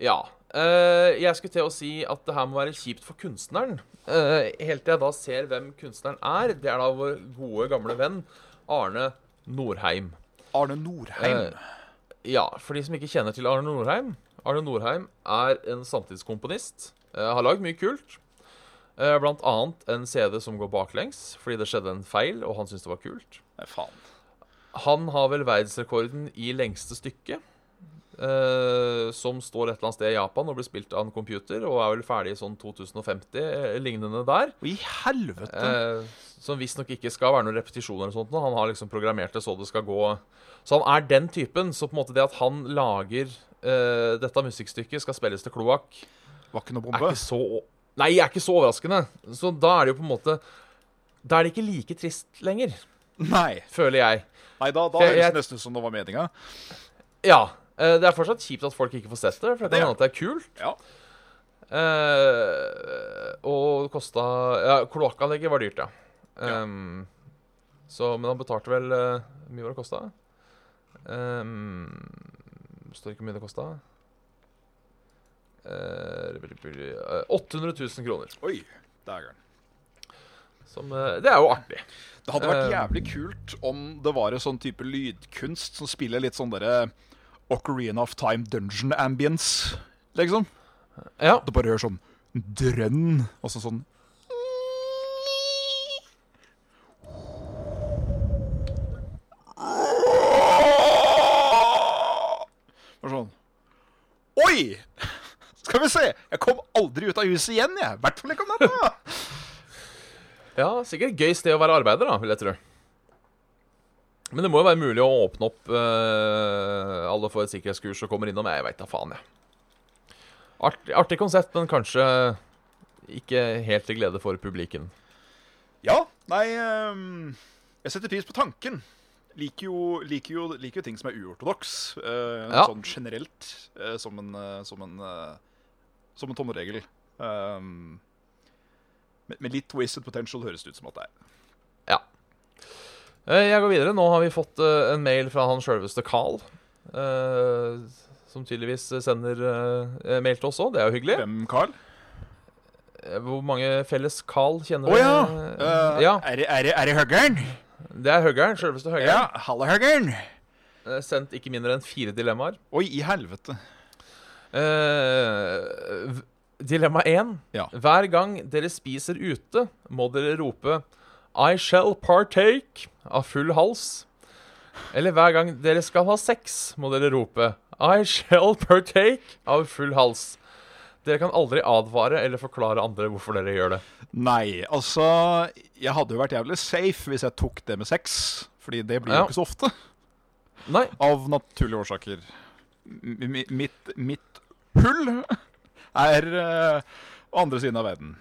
Ja. eh, jeg skulle til å si at det her må være kjipt for kunstneren. Eh, helt til jeg da ser hvem kunstneren er. Det er da vår gode, gamle venn Arne Norheim. Arne Norheim. Eh, ja, for de som ikke kjenner til Arne Norheim Arne Norheim er en samtidskomponist. eh, har lagd mye kult. Eh, blant annet en CD som går baklengs fordi det skjedde en feil, og han syntes det var kult. Nei, faen. Han har vel verdensrekorden i lengste stykke. eh, som står et eller annet sted i Japan og blir spilt av en computer, og er vel ferdig i sånn 2050, eh, lignende der. Å, i helvete. Eh, som visstnok ikke skal være noen repetisjon eller noe sånt. nå. Han har liksom programmert det så det skal gå Så han er den typen. Så på en måte det at han lager eh, dette musikkstykket, skal spilles til kloakk, Var ikke noe er bombe. ikke så Nei, er ikke så overraskende. Så da er det jo på en måte Da er det ikke like trist lenger, Nei. føler jeg. Nei, da, da For jeg- høres det nesten ut som det var meninga. Ja. eh, det er fortsatt kjipt at folk ikke får sett det, for det Det er kan hende at det er kult. Ja. Eh, og kosta ja, Kloakkanlegget var dyrt, ja. Ja. Ehm, Så, men han betalte vel eh, Hvor mye var det kosta? Um, står ikke hvor mye det kosta. Eh, 800 000 kroner. Oi. Dægeren. Som, eh, det er jo artig. Det hadde vært Eh. jævlig kult om det var en sånn type lydkunst som spiller litt sånn derre Ocarina of Time Dungeon Ambience, liksom. Ja. Du bare hører sånn drønn, og så sånn Bare sånn Oi! <laughs> Skal vi se! Jeg kom aldri ut av huset igjen, jeg. I hvert fall ikke om natta. ja, sikkert et gøy sted å være arbeider, da, vil jeg tro. Men det må jo være mulig å åpne opp eh, alle får et sikkerhetskurs og kommer innom. Jeg veit da faen, jeg. Artig, artig konsept, men kanskje ikke helt til glede for publikum. Ja, nei ehm, Jeg setter pris på tanken. Liker jo, liker jo, liker jo ting som er uortodoks. eh, Ja. Sånn generelt, eh, som en, eh, som en, eh, som en tommelregel. Ehm, men, men litt wasted potential høres det ut som at det er. Eh, Jeg går videre. Nå har vi fått eh, en mail fra han sjølveste Carl. eh, som tydeligvis sender eh, mail til oss òg. Det er jo hyggelig. Hvem, Carl? Eh, Hvor mange felles Carl kjenner Å ja! Eh, eh, ja! Er, det- er, det- er det Huggern? Det er Høgger'n. Sjølveste Høgger'n. Ja, halla, Huggern! Eh, Sendt ikke mindre enn fire dilemmaer. Oi, i helvete. Eh, v- dilemma én. Ja. Hver gang dere spiser ute, må dere rope 'I shall partake' av full hals. Eller hver gang dere skal ha sex, må dere rope 'I shall partake' av full hals. Dere kan aldri advare eller forklare andre hvorfor dere gjør det. Nei, altså Jeg hadde jo vært jævlig safe hvis jeg tok det med sex. Fordi det blir jo Ja. ikke så ofte. Nei, Av naturlige årsaker. M mi- mitt, mitt hull er eh, på andre siden av verden.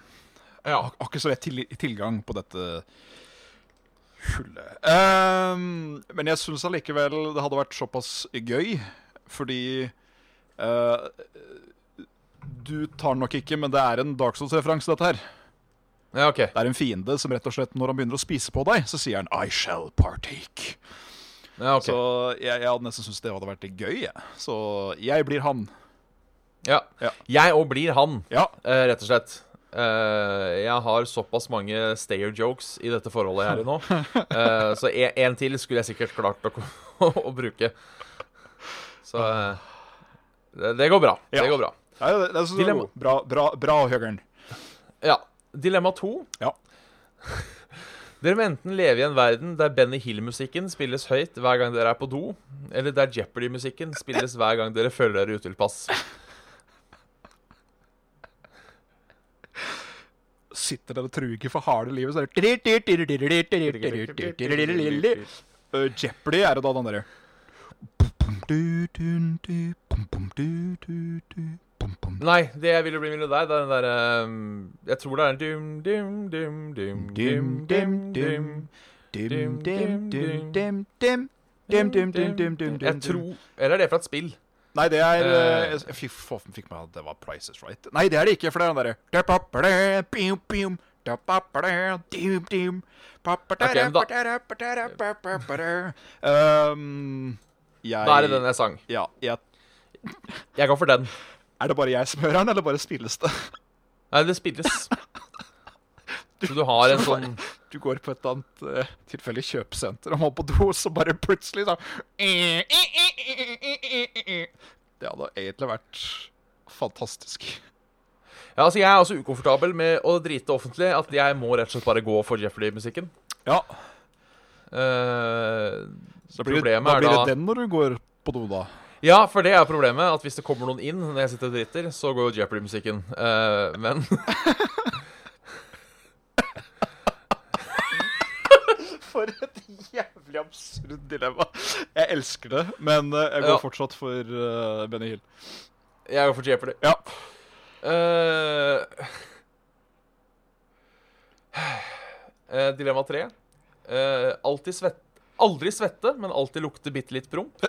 ja. Har ikke så lett til tilgang på dette hullet. Ehm, men jeg syns allikevel det hadde vært såpass gøy, fordi eh, Du tar den nok ikke, men det er en Dark Souls-referanse, dette her. ja OK. Det er en fiende som rett og slett, når han begynner å spise på deg, så sier han 'I shall partake'. Ja, ok. Så jeg, jeg hadde nesten syntes det hadde vært litt gøy. Jeg. Så jeg blir han. ja. Ja. Jeg òg blir han. Ja. Eh, rett og slett. Eh, jeg har såpass mange stayer jokes i dette forholdet jeg er <laughs> i nå. Eh, så én til skulle jeg sikkert klart å, ko- <laughs> å bruke. Så eh, det, det går bra. Ja. Det går bra. Nei, det, det er så Dilemma. Bra, bra, bra Høgern. Ja. Dilemma to. Ja. <laughs> Dere må enten leve i en verden der Benny Hill-musikken spilles høyt hver gang dere er på do, eller der Jeopardy-musikken spilles hver gang dere føler dere utilpass. Sitter der og truger for harde livet, så er det Uh, Jeopardy er det da, den derre Nei, det jeg ville bli millionær, det er den derre eh, Jeg tror det er en dum, dum, dum, dum, dum, dum, dum. Jeg tror Eller er det fra et spill? Nei, det er eh, jeg- Fy faen, fikk meg at det var Price is Right. Nei, det er det ikke, for det er den derre um, jeg, Da er det den jeg sang. Ja, jeg, Jeg går for den. er det bare jeg som hører den, eller bare spilles det? Nei, det <laughs> spilles. Så du har en sånn Du går på et eller annet eh, tilfeldig kjøpesenter og må på do, så bare plutselig sånn Det hadde egentlig vært fantastisk. Ja, altså Jeg er også ukomfortabel med å drite offentlig. At jeg må rett og slett bare gå for Jeopardy-musikken. Ja, Eh, så blir det, Problemet da er blir da- det den når du går på do, da. ja, for det er problemet. At hvis det kommer noen inn når jeg sitter og driter, så går jo Jeopardy-musikken. Eh, men For et jævlig absurd dilemma. Jeg elsker det, men eh, jeg går Ja. fortsatt for eh, Benny Hill. jeg går for Jeopardy. Ja. Eh, eh, dilemma tre. Eh, alltid svett, aldri svette, men alltid lukte bitte litt promp.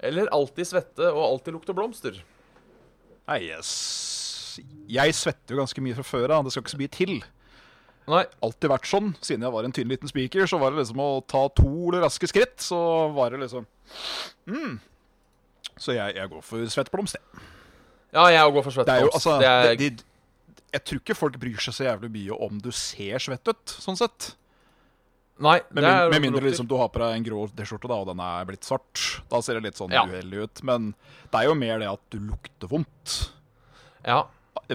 Eller alltid svette og alltid lukte blomster. Nei, yes. Jeg svetter jo ganske mye fra før av, det skal ikke så mye til. Nei, alltid vært sånn. Siden jeg var en tynn liten spiker, så var det liksom å ta to raske skritt, så var det liksom mm. Så jeg, jeg går for svett blomst, jeg. ja, jeg òg går for svette. Det er jo blomst. altså det er, det- de, Jeg tror ikke folk bryr seg så jævlig mye om du ser svett ut, sånn sett. Nei, Med, det min, er med mindre rotter. liksom, du har på deg en grå T-skjorte, da, og den er blitt svart. Da ser det litt sånn Ja. uheldig ut. Men det er jo mer det at du lukter vondt. liksom- Ja.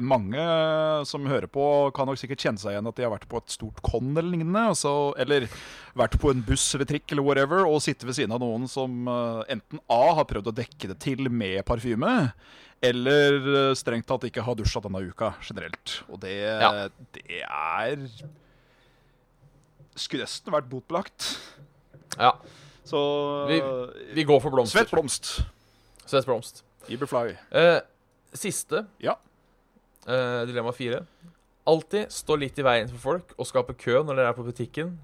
Mange som hører på, kan nok sikkert kjenne seg igjen at de har vært på et stort con eller lignende. og så- eller vært på en buss eller trikk eller whatever og sitte ved siden av noen som eh, enten A har prøvd å dekke det til med parfyme, eller eh, strengt tatt ikke har dusja denne uka generelt. Og det, Ja. det er Skulle nesten vært botbelagt. ja. Så Vi- Vi går for blomster. Svett blomst. Svett blomst. Iberfly. Eh, siste, Ja. eh, dilemma fire. Alltid stå litt i veien for folk og skape kø når dere er på butikken.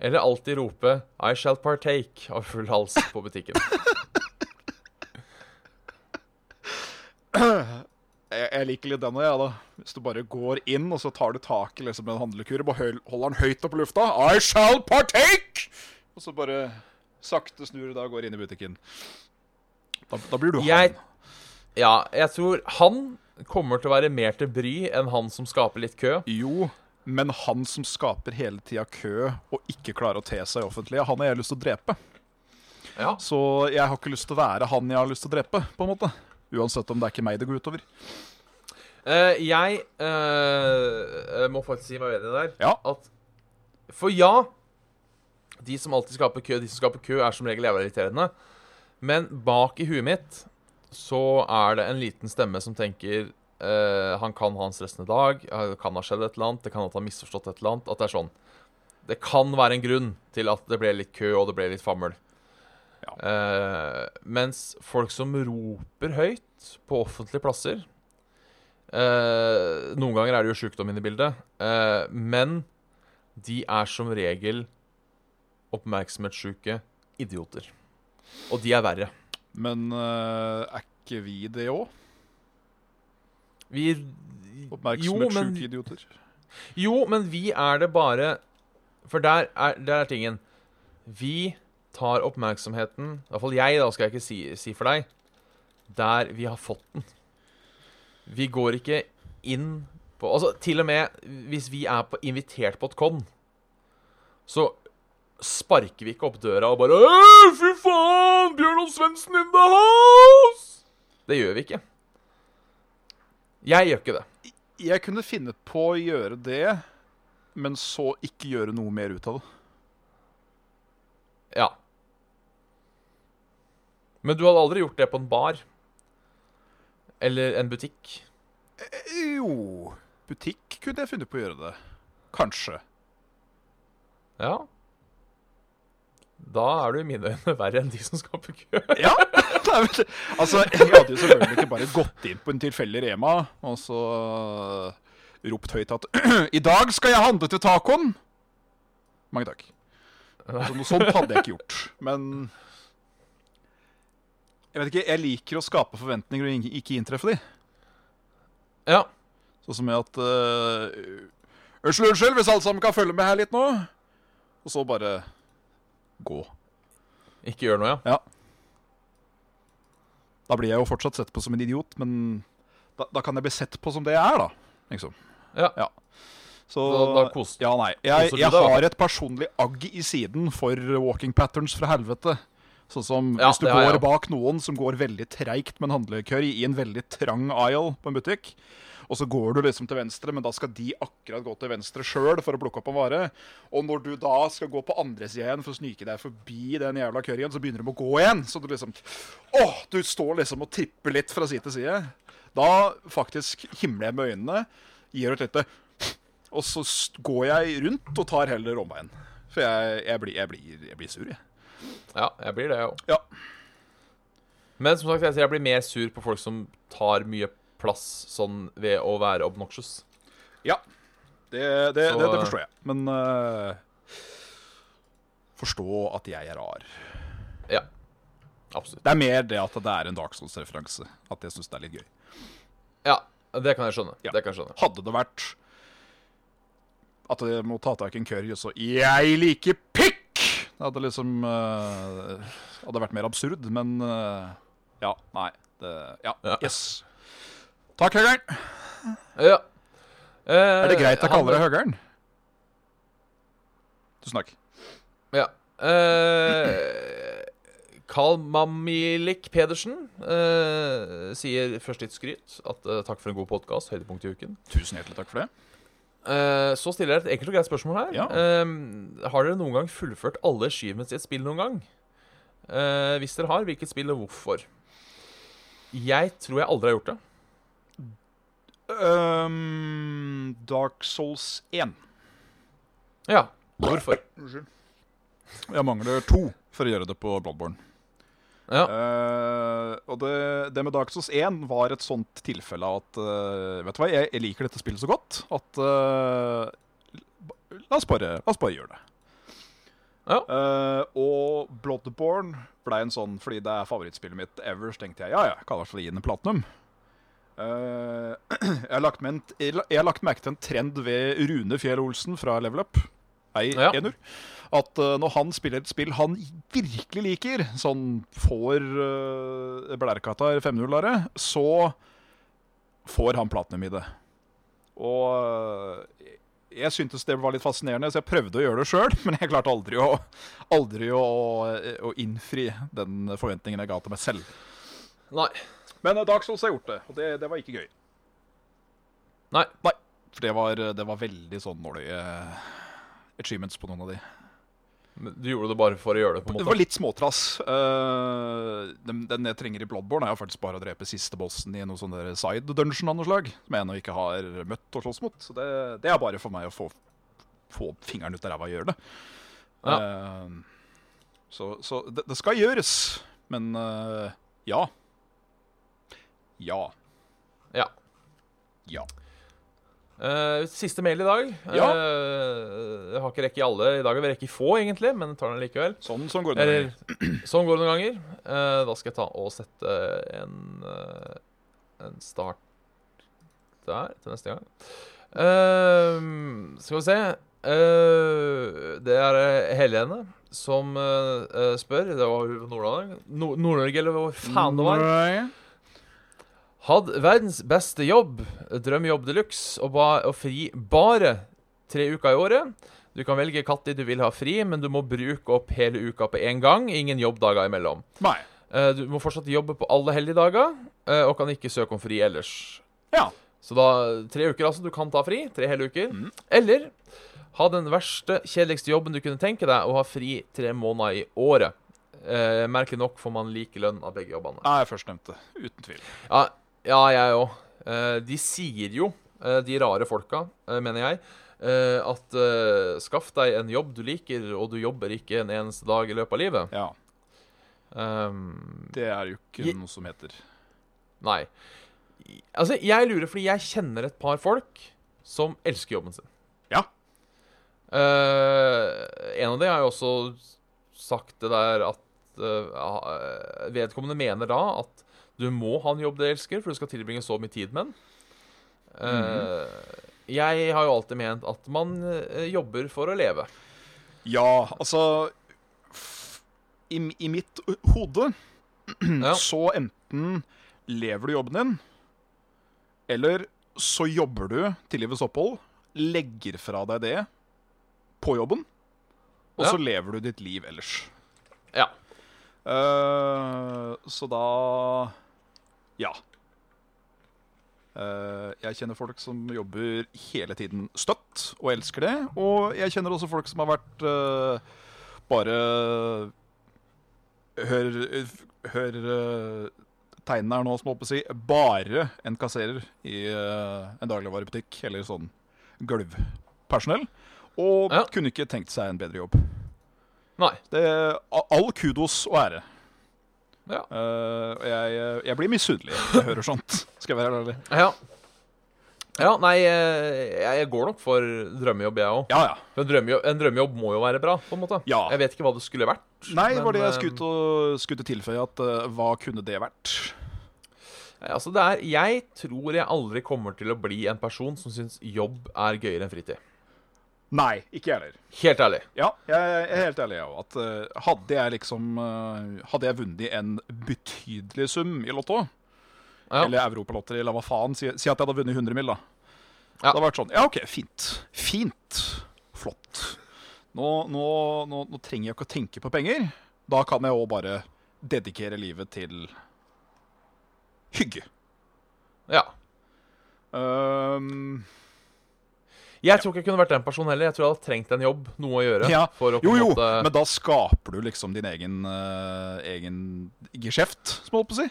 Eller alltid rope 'I shall partake' av full hals på butikken. jeg, jeg liker litt den òg, jeg, da. Hvis du bare går inn og så tar du tak i liksom, en handlekur og bare høl- holder den høyt opp i lufta. I shall partake! Og så bare sakte snur du da og går inn i butikken. Da, da blir du Jeg, han. ja, jeg tror han kommer til å være mer til bry enn han som skaper litt kø. Jo, men han som skaper hele tida kø og ikke klarer å te seg i offentlige, han har jeg lyst til å drepe. Ja. Så jeg har ikke lyst til å være han jeg har lyst til å drepe, på en måte. Uansett om det er ikke meg det går utover. Eh, jeg eh, må faktisk si meg uenig der. Ja. At, for ja, de som alltid skaper kø, de som skaper kø, er som regel jævla irriterende. Men bak i huet mitt så er det en liten stemme som tenker eh, Han kan ha en stressende dag, eh, det kan ha skjedd et eller annet, det kan at han har misforstått et eller annet. At det er sånn. Det kan være en grunn til at det ble litt kø, og det ble litt fammel. Eh, mens folk som roper høyt på offentlige plasser eh, Noen ganger er det jo sjukdom inne i bildet, eh, men de er som regel oppmerksomhetssjuke idioter. Og de er verre. Men øh, er ikke vi det òg? Vi Oppmerksomhetssjuke Jo, men- idioter. Jo, men vi er det bare For der er, der er tingen. Vi tar oppmerksomheten I hvert fall jeg, da, skal jeg ikke si, si for deg. Der vi har fått den. Vi går ikke inn på Altså, til og med hvis vi er på, invitert på et con, så sparker vi ikke opp døra og bare «Øy, Fy faen! Bjørnolf Svendsen in the house! Det gjør vi ikke. Jeg gjør ikke det. Jeg kunne finne på å gjøre det, men så ikke gjøre noe mer ut av det. Ja. Men du hadde aldri gjort det på en bar? Eller en butikk? Jo Butikk kunne jeg funnet på å gjøre det. Kanskje. Ja. Da er du i mine øyne verre enn de som skaper kø. <laughs> Ja! <laughs> Nei, men, altså, jeg hadde jo selvfølgelig ikke bare gått inn på en tilfeldig Rema og så eh, ropt høyt at <clears throat> I dag skal jeg handle til tacoen! Mange takk. Altså, noe sånt hadde jeg ikke gjort. Men jeg vet ikke, jeg liker å skape forventninger og ikke inntreffe de. Ja. Sånn som med at eh, Unnskyld, unnskyld, hvis alle sammen kan følge med her litt nå. Og så bare gå. Ikke gjør noe, ja. Ja. Da blir jeg jo fortsatt sett på som en idiot, men da, da kan jeg bli sett på som det jeg er, da. Liksom. Ja. Så Da- da kos- Ja, nei. Jeg, koser du jeg deg, da. har et personlig agg i siden for walking patterns fra helvete. Sånn som Ja, hvis du det har går jeg også. bak noen som går veldig treigt med en handlekøy i en veldig trang aisle på en butikk, og så går du liksom til venstre, men da skal de akkurat gå til venstre sjøl for å plukke opp en vare. Og når du da skal gå på andre sida igjen for å snike deg forbi den jævla køyen, så begynner de å gå igjen. Så du liksom Åh! Du står liksom og tripper litt fra side til side. Da faktisk himler jeg med øynene, gir et lite Og så s- går jeg rundt og tar heller omveien. For jeg, jeg, blir, jeg, blir, jeg blir sur, jeg. Ja, jeg blir det, jeg òg. Ja. Men som sagt, jeg sier jeg blir mer sur på folk som tar mye plass sånn ved å være obnoxious. Ja. Det, det, Så- det, det forstår jeg. Men eh, Forstå at jeg er rar. Ja. Absolutt. Det er mer det at det er en Dark Souls-referanse. At jeg syns det er litt gøy. Ja, det kan jeg skjønne. Ja. Det kan jeg skjønne. Hadde det vært at jeg må ta tak i en curry, og så Jeg liker pikk! Det hadde liksom eh, Hadde vært mer absurd, men eh, Ja, nei. Det, ja, Ja. Yes. Takk, Høgern. Ja. Er det Eh, greit jeg kaller deg Høgern? Du snakk. Ja. Eh, Carl Mamilik Pedersen eh, sier først litt skryt. At eh, takk for en god podkast. Høydepunkt i uken. Tusen hjertelig takk for det. Eh, så stiller jeg et enkelt og greit spørsmål her. Ja. Eh, har dere noen gang fullført alle achievements i et spill noen gang? Eh, hvis dere har, hvilket spill og hvorfor? Jeg tror jeg aldri har gjort det. Øhm, Ehm, Dark Souls 1. Ja, hvorfor? Unnskyld. Jeg mangler to for å gjøre det på Bloodborne. Ja. Eh, og det, det med Dark Souls 1 var et sånt tilfelle at eh, Vet du hva, jeg, jeg liker dette spillet så godt at eh, la, oss bare, la oss bare gjøre det. Ja. Eh, og Bloodborne ble en sånn fordi det er favorittspillet mitt ever, så tenkte jeg ja, ja, kan i hvert fall gi den en platinum. Eh, <clears throat> jeg, har lagt med en, jeg har lagt merke til en trend ved Rune Fjell Olsen fra Level Up. Hei, Ja. Enur at eh, når han spiller et spill han virkelig liker, sånn får uh, Blærekatar 5-0-ere, så får han platinum i det. Og eh, jeg syntes det var litt fascinerende, så jeg prøvde å gjøre det sjøl, <laughs> men jeg klarte aldri å, aldri å, å innfri den forventningen jeg ga til meg selv. Nei. Men eh, Dark Souls har gjort det, og det, det var ikke gøy. Nei. Nei, for det var, det var veldig sånn nåløye achievements på noen av de. Men Du gjorde det bare for å gjøre det, på en Det måte. var litt småtrass. Eh, den, den jeg trenger i Bloodborne, er jo faktisk bare å drepe siste bossen i noe sånn der side dungeon av noe slag. Som jeg ennå ikke har møtt og slåss mot. Så det, det er bare for meg å få, få fingeren ut av ræva og gjøre det. Ja. Eh, så så det, det skal gjøres. Men eh, ja. Ja. Ja. Ja. Eh, siste mail i dag. Ja. Eh, jeg har ikke rekke i alle i dag. Jeg vil rekke i få, egentlig, men tar den likevel. Sånn, sånn går det. Eller, sånn går det noen ganger. Eh, da skal jeg ta og sette en, eh, en start der til neste gang. Eh, skal vi se Eh, Det er eh, Helene som eh, eh, spør. Det var hun fra Nord-Norge, Nord- Nord-Norge eller hvor faen det var. Nei. Hadde verdens beste jobb, drømmejobb de luxe, og, ba- og fri bare tre uker i året. Du kan velge når du vil ha fri, men du må bruke opp hele uka på én gang. Ingen jobbdager imellom. Nei. Eh, Du må fortsatt jobbe på alle helligdager, eh, og kan ikke søke om fri ellers. Ja. Så da tre uker, altså. Du kan ta fri. Tre hele uker. Eller ha den verste, kjedeligste jobben du kunne tenke deg, og ha fri tre måneder i året. Eh, merkelig nok får man like lønn av begge jobbene. Nei, førstnevnte. Uten tvil. Ja, ja jeg òg. De sier jo, eh, de rare folka, eh, mener jeg, eh, at eh, skaff deg en jobb du liker, og du jobber ikke en eneste dag i løpet av livet. Ja. Ehm, Det er jo ikke Je- noe som heter nei. I- Altså, jeg lurer fordi jeg kjenner et par folk som elsker jobben sin. Ja. Eh, en av dem har jo også sagt det der at eh, Vedkommende mener da at du må ha en jobb du elsker, for du skal tilbringe så mye tid med den. Eh, Jeg har jo alltid ment at man eh, jobber for å leve. Ja, altså f- I, i mitt hode <clears throat> Ja. så enten lever du jobben din, eller så jobber du til livets opphold, legger fra deg det på jobben, og Ja. så lever du ditt liv ellers. Ja. Eh, så da Ja. Eh, jeg kjenner folk som jobber hele tiden støtt og elsker det. Og jeg kjenner også folk som har vært eh, bare Hør, hør eh, tegnene her nå, som jeg håper å si. Bare en kasserer i eh, en dagligvarebutikk eller sånn gulvpersonell. Og Ja. kunne ikke tenkt seg en bedre jobb. Nei. Det er all kudos og ære. Ja. Eh, og jeg, jeg blir misunnelig når jeg hører <laughs> sånt. Skal jeg være helt ærlig? Ja, ja nei, eh, jeg, jeg går nok for drømmejobb, jeg òg. Ja, ja. En drømmejobb, en drømmejobb må jo være bra, på en måte. Ja. Jeg vet ikke hva det skulle vært. Nei, det var det Men, jeg skulle til å- skulle til å tilføye. At eh, hva kunne det vært? eh, Altså, det er, jeg tror jeg aldri kommer til å bli en person som syns jobb er gøyere enn fritid. Nei, ikke jeg heller. Helt ærlig. Ja, jeg er helt ærlig, jeg òg. Uh, hadde jeg liksom eh, Hadde jeg vunnet en betydelig sum i Lotto, Ja. eller Europalotteri, eller hva faen, si, si at jeg hadde vunnet 100 mill., da. Ja. Det har vært sånn Ja, OK, fint. Fint. Flott. Nå, nå, nå, nå trenger jeg ikke å tenke på penger. Da kan jeg òg bare dedikere livet til hygge. Ja. Ehm, Jeg tror ikke jeg kunne vært den personen heller. Jeg tror jeg hadde trengt en jobb, noe å gjøre. ja. For å på Jo, en jo, måte- men da skaper du liksom din egen, eh, egen geskjeft, som jeg holdt på å si.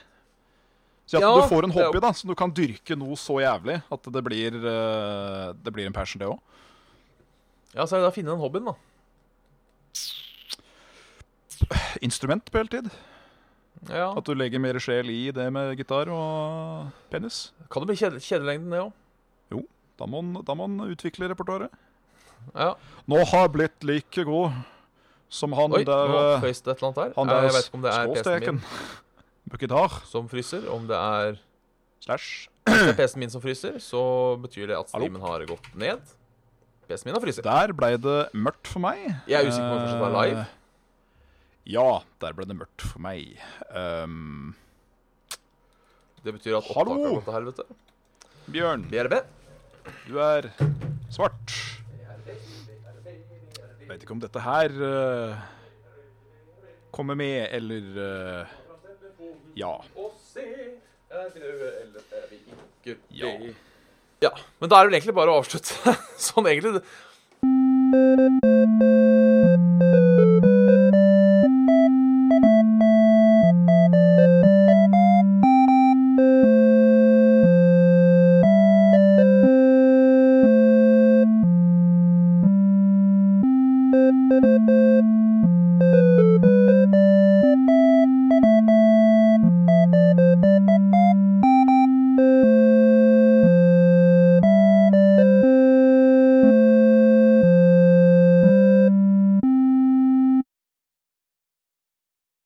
Så at Ja, du får en det er hobby da, som du kan dyrke noe så jævlig at det blir, eh, det blir en passion, det òg. Ja, så er det da å finne den hobbyen, da. Instrument på heltid. Ja. At du legger mer sjel i det med gitar og penis. Kan det bli kjede- kjedelengden, det òg? Da må man, da må man utvikle repertoaret. Ja. Nå har jeg blitt like god som han Oi, der nå eh, føys det et eller annet her. Han Eh, der jeg vet ikke om det er PC-en skråstreken. min På gitar. som fryser. Om det er, Slash. Hvis det er PC-en min som fryser, så betyr det at Hallo? streamen har gått ned. PC-en min har fryser. Der ble det mørkt for meg. Jeg er usikker på om det fortsatt er live. Eh, Ja, der ble det mørkt for meg. Ehm, Det betyr at Hallo? opptaket har gått til helvete. Bjørn, BRB. du er svart. Jeg vet ikke om dette her eh, kommer med, eller eh, Ja. Ja. <laughs> ja. Men da er det vel egentlig bare å avslutte. sånn egentlig.